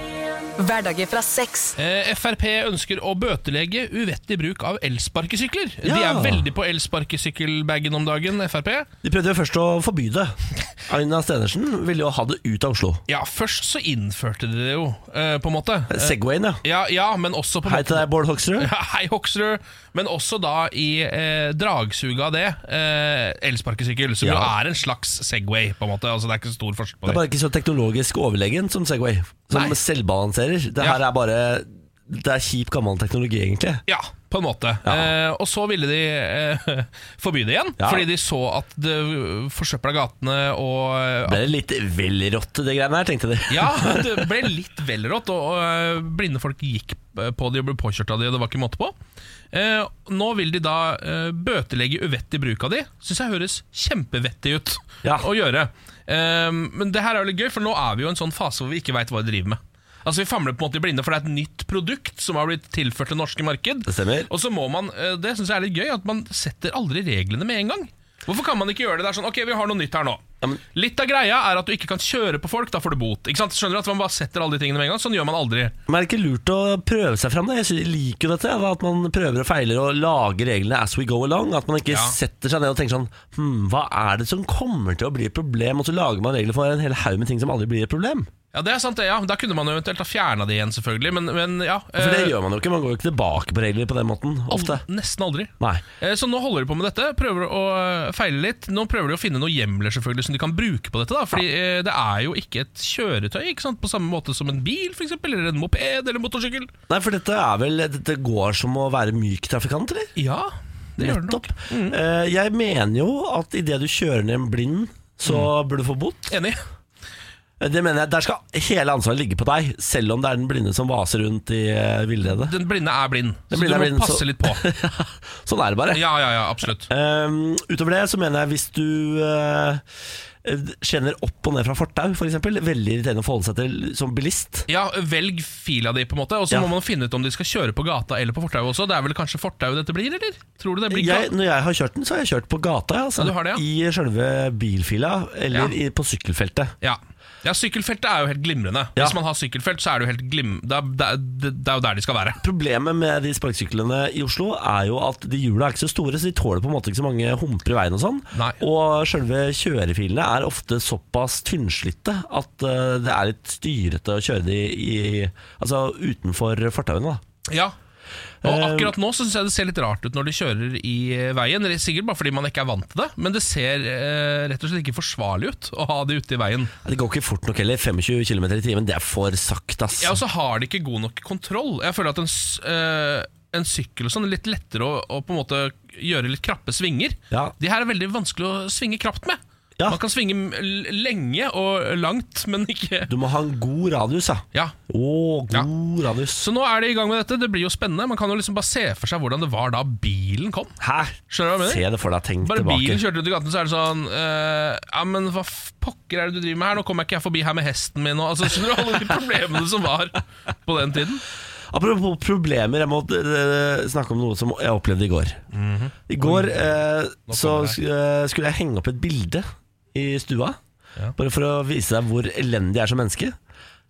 C: Hverdager fra seks.
B: Eh, Frp ønsker å bøtelegge uvettig bruk av elsparkesykler. De
A: Ja.
B: er veldig på elsparkesykkelbagen om dagen, Frp.
A: De prøvde jo først å forby det. Aina Stenersen ville jo ha det ut av Oslo.
B: Ja, først så innførte de det jo, eh, på en måte. Eh,
A: Segwayen, ja.
B: Ja, ja, men også på en
A: Hei
B: måte (laughs)
A: til deg, Bård Hoksrud.
B: Ja, Hei, Hoksrud. Men også da i eh, dragsuget av det, eh, elsparkesykkel, som jo
A: Ja.
B: er en slags Segway, på en måte. Altså, det er ikke så stor forskjell på
A: Det er
B: det.
A: bare ikke så teknologisk overlegen som Segway. Som
B: Nei.
A: selvbalanserer. Det
B: Ja.
A: her er bare Det er kjip, gammel teknologi, egentlig.
B: Ja, på en måte. Eh, og så ville de eh, (laughs) forby det igjen,
A: Ja.
B: fordi de så at det forsøpla gatene og eh,
A: Det er litt vel rått, det greiene her, tenkte de.
B: Ja, det ble litt vel rått, og, og eh, blinde folk gikk eh, på de og ble påkjørt av de, og det var ikke måte på. Eh, nå vil de da eh, bøtelegge uvettig bruk av de. Syns jeg høres kjempevettig ut
A: Ja.
B: å gjøre. Eh, men det her er jo litt gøy, for nå er vi jo i en sånn fase hvor vi ikke veit hva vi driver med. Altså Vi famler på en måte i blinde, for det er et nytt produkt som har blitt tilført det norske marked.
A: Det stemmer.
B: Og så må man, eh, det syns jeg er litt gøy, at man setter aldri reglene med en gang. Hvorfor kan man ikke gjøre det? Det er sånn, ok, vi har noe nytt her nå. Litt av greia er at du ikke kan kjøre på folk, da får du bot. Ikke sant? Skjønner du at man bare setter alle de tingene med en gang? Sånn gjør man aldri.
A: Men er det ikke lurt å prøve seg fram? da? Jeg sy- liker jo dette. da, At man prøver og feiler og lager reglene as we go along. At man ikke
B: Ja.
A: setter seg ned og tenker sånn Hm, hva er det som kommer til å bli et problem? Og så lager man regler for en hel haug med ting som aldri blir et problem.
B: Ja, det er sant det, ja. Da kunne man jo eventuelt ha fjerna det igjen, selvfølgelig, men, men ja.
A: For det
B: eh,
A: gjør man jo ikke. Man går jo ikke tilbake på regler på den måten. Ofte.
B: al- Nesten aldri.
A: Nei.
B: Eh, Så nå holder de på med dette, prøver å eh, feile litt. Nå prøver de å finne noen hjemler selvfølgelig som de kan bruke på dette. da Fordi eh, det er jo ikke et kjøretøy ikke sant? på samme måte som en bil, for eksempel, eller en moped eller en motorsykkel.
A: Nei, for dette er vel Dette går som å være myk trafikant, eller?
B: Ja, det gjør det nok. Mm.
A: Nettopp. Eh, jeg mener jo at idet du kjører ned en blind, så
B: Mm.
A: burde du få bot.
B: Enig.
A: Det mener jeg, Der skal hele ansvaret ligge på deg, selv om det er den blinde som vaser rundt i eh, villredet.
B: Den blinde er blind,
A: Den
B: så
A: blinde
B: du
A: er
B: må
A: blind, så-
B: passe litt på. (laughs)
A: Sånn er det bare.
B: Ja, ja, ja, absolutt.
A: Ehm, utover det så mener jeg hvis du uh, skjener opp og ned fra fortau, f.eks. eksempel veldig irriterende å forholde seg til som bilist.
B: Ja, Velg fila di, på en måte og så
A: Ja.
B: må man finne ut om de skal kjøre på gata eller på fortauet også. Det er vel kanskje fortauet dette blir, eller? Tror du det blir
A: Jeg,
B: gata?
A: når jeg har kjørt den, så har jeg kjørt på gata. ja, Altså,
B: Ja, du har det, ja.
A: I sjølve bilfila, eller i, på sykkelfeltet.
B: Ja. ja, sykkelfeltet er jo helt glimrende.
A: Ja.
B: Hvis man har sykkelfelt, så er det jo helt glim... Det er, det, er, det er jo der de skal være.
A: Problemet med de sparkesyklene i Oslo er jo at de hjula er ikke så store, så de tåler på en måte ikke så mange humper i veien og sånn.
B: Nei.
A: Og sjølve kjørefilene er ofte såpass tynnslitte at eh, det er litt styrete å kjøre de i, altså utenfor fortauene. da.
B: Ja
A: Eh,
B: og akkurat nå så synes jeg det ser litt rart ut når de kjører i eh, veien. Eller Sikkert bare fordi man ikke er vant til det, men det ser eh, rett og slett ikke forsvarlig ut å ha det ute i veien.
A: Det går ikke fort nok heller. 25 km i timen, det er for sakte, ass.
B: Ja, altså- og så har de ikke god nok kontroll. Jeg føler at en, s- eh, en sykkel og sånn er litt lettere å, å på en måte gjøre litt krappe svinger.
A: Ja.
B: De her er veldig vanskelig å svinge krapt med.
A: Ja.
B: Man kan svinge m- l- lenge og langt, (laughs) men ikke
A: Du må ha en god radius, ja.
B: ja.
A: Å, god radius.
B: Så nå er de i gang med dette. Det blir jo spennende. Man kan jo liksom bare se for seg hvordan det var da bilen kom.
A: Hæ?
B: Skjønner du hva jeg mener?
A: Se det for deg, tenk
B: Bare
A: tilbake.
B: bilen kjørte rundt i gaten, så er det sånn eh, Ja, men hva f- pokker er det du driver med her? Nå kommer jeg ikke jeg forbi her med hesten min og altså, Skjønner du alle de problemene som var på den tiden?
A: Apropos problemer, jeg må eh, snakke om noe som jeg opplevde i går. I går eh, så
B: Mhm. kommer det.
A: sk- eh, skulle jeg henge opp et bilde i stua.
B: Ja.
A: Bare for å vise deg hvor elendig jeg er som menneske.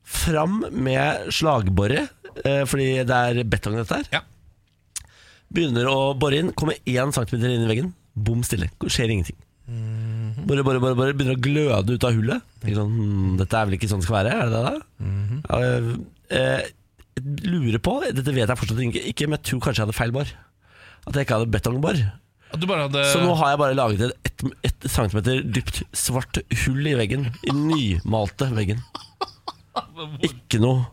A: Fram med slagboret, eh, fordi det er betong dette her.
B: Ja.
A: Begynner å bore inn, kommer én centimeter inn i veggen. Bom stille. Skjer ingenting.
B: Mhm.
A: Bare, bare, bare, bare begynner å gløde ut av hullet. Tenker Sånn, hm, dette er vel ikke sånn det skal være? Er det det da?
B: Mhm.
A: Eh, eh, lurer på, dette vet jeg fortsatt ikke, ikke, men jeg tror kanskje jeg hadde feil bor. At jeg ikke hadde betongbor.
B: At du bare hadde
A: Så nå har jeg bare laget et, et, et centimeter dypt svart hull i veggen. I den nymalte veggen. Ikke noe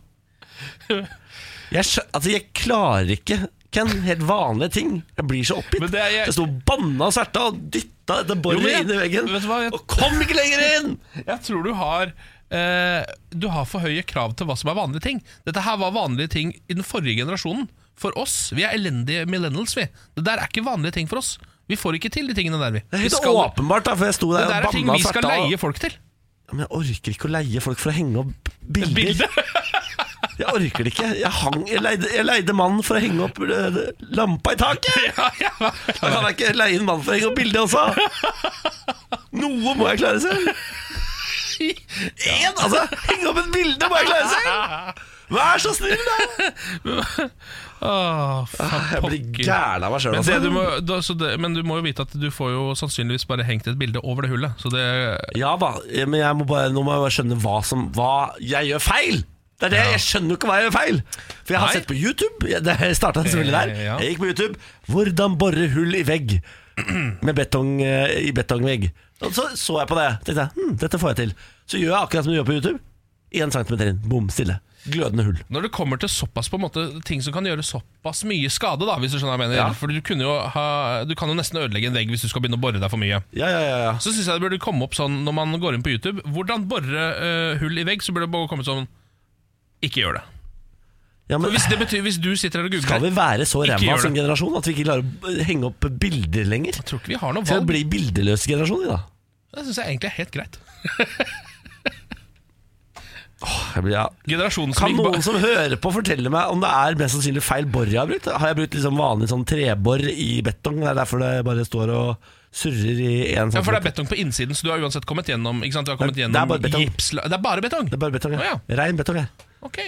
A: jeg, skjø- altså jeg klarer ikke Ken, helt vanlige ting. Jeg blir så oppgitt.
B: Men det er- jeg-
A: jeg sto og banna og sverta og dytta dette
B: Jo, men
A: boret
B: jeg-
A: inn i veggen.
B: vet du hva, jeg-
A: Og kom ikke lenger inn!
B: Jeg tror du har eh, du har for høye krav til hva som er vanlige ting. Dette her var vanlige ting i den forrige generasjonen. For oss, Vi er elendige millennials. vi Det der er ikke vanlige ting for oss. Vi får ikke til de tingene der. vi
A: Det er
B: vi
A: helt åpenbart, da, for jeg sto
B: Det
A: der
B: der
A: og
B: er ting
A: banna
B: vi skal
A: sakta.
B: leie folk til.
A: Ja, Men jeg orker ikke å leie folk for å henge opp bilder.
B: Bildet.
A: Jeg orker det ikke. Jeg, hang, jeg, leide, jeg leide mannen for å henge opp øh, lampa i taket!
B: (laughs) Ja, ja.
A: Da kan jeg ikke leie en mann for å henge opp bilde også! Noe må jeg klare selv! Én, altså! Henge opp et bilde må jeg klare selv! Vær så snill, da!
B: Åh, faen,
A: Ah, Jeg blir
B: pokker.
A: gæren av meg sjøl,
B: Men, det du
A: altså.
B: må, da, så det, men du må jo vite at du får jo sannsynligvis bare hengt et bilde over det hullet. Så det,
A: Ja da, men jeg må bare, nå må jeg bare skjønne hva som Hva jeg gjør feil! Det er det, Jeg skjønner jo ikke hva jeg gjør feil! For jeg har
B: Nei.
A: sett på YouTube. Jeg- Det starta selvfølgelig der.
B: Eh, ja.
A: Jeg gikk på YouTube. 'Hvordan borre hull i vegg' (clears throat) med betong, eh, i betongvegg. Og så så jeg på det. tenkte jeg, hm, dette får jeg til. Så gjør jeg akkurat som du gjør på YouTube. Én centimeter inn. Bom, stille. Glødende hull.
B: når det kommer til såpass på en måte ting som kan gjøre såpass mye skade, da, hvis du skjønner hva jeg mener.
A: Ja.
B: For du, kunne jo ha, du kan jo nesten ødelegge en vegg hvis du skal begynne å bore deg for mye.
A: Ja, ja, ja, ja.
B: Så syns jeg det burde komme opp sånn når man går inn på YouTube Hvordan borre eh, hull i vegg, så burde det bare komme sånn Ikke gjør det.
A: ja
B: For
A: men,
B: hvis, det betyr, hvis du sitter her og
A: skal vi
B: googler
A: være så
B: Ikke
A: ræva
B: gjør
A: som
B: det.
A: generasjon at vi ikke klarer å henge opp bilder lenger?
B: Jeg tror ikke vi har noe
A: Skal vi
B: valg.
A: bli bildeløse generasjon, vi da?
B: Det syns jeg egentlig er helt greit.
A: Jeg blir, ja.
B: Generasjonen som
A: Kan
B: gikk ba-
A: noen som hører på fortelle meg om det er mest sannsynlig feil bor jeg har brukt? Har jeg brukt liksom vanlig sånn trebor i betong? Det er derfor det bare står og surrer i sånn- én
B: Ja, for det er
A: centimeter?
B: betong på innsiden, så du har uansett kommet gjennom ikke sant? Du har kommet
A: Det er
B: gjennom
A: bare betong.
B: gipsla- Det er bare betong?
A: Det er bare betong, ja.
B: Å,
A: Rein betong her.
B: Ok,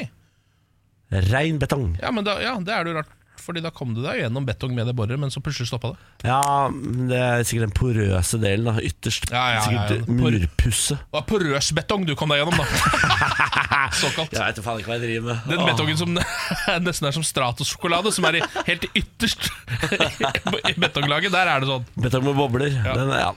A: Rein betong.
B: ja, men da, ja, det er det jo rart Fordi da kom du deg gjennom betong med det borret Men så plutselig stoppet det
A: Ja, men det er sikkert den porøse delen, da. Ytterst.
B: Ja, ja, ja, ja.
A: Sikkert
B: Por-
A: murpusse.
B: Det var porøs betong du kom deg gjennom da
A: (laughs)
B: Såkalt
A: Jeg vet jo faen ikke hva jeg driver med.
B: Den
A: Åh.
B: betongen som (laughs) nesten er som stratosjokolade Som er i, helt ytterst (laughs) I betonglaget, der er det sånn
A: Betong med bobler. Den, ja.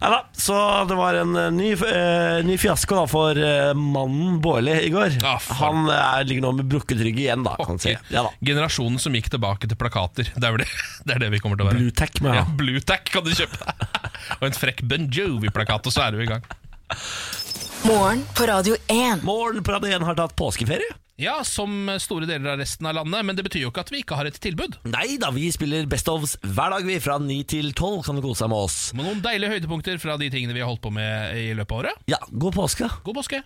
A: Nei da, så det var en eh, ny, eh, ny fiasko da for eh, mannen Bårli i går.
B: Ah, faen.
A: Han eh, ligger nå med brukket rygg igjen, da. Kan
B: Ok.
A: man si. ja, da.
B: Generasjonen som gikk tilbake til plakater Det er, vel det, (laughs) det, er det vi kommer til å være
A: Blue tack med,
B: ja,
A: ja.
B: Blue Tack kan du kjøpe (laughs) deg Og en frekk Ben Jovi-plakat, og så er du i gang
C: Morgen på Radio 1.
A: Morgen på Radio 1 har tatt påskeferie.
B: Ja, som store deler av resten av landet, men det betyr jo ikke at vi ikke har et tilbud.
A: Nei da, vi spiller Best ofs hver dag vi fra 9 til 12. Kan du kose deg med oss?
B: Men noen deilige høydepunkter fra de tingene vi har holdt på med i løpet av året.
A: Ja, god påske.
B: God påske!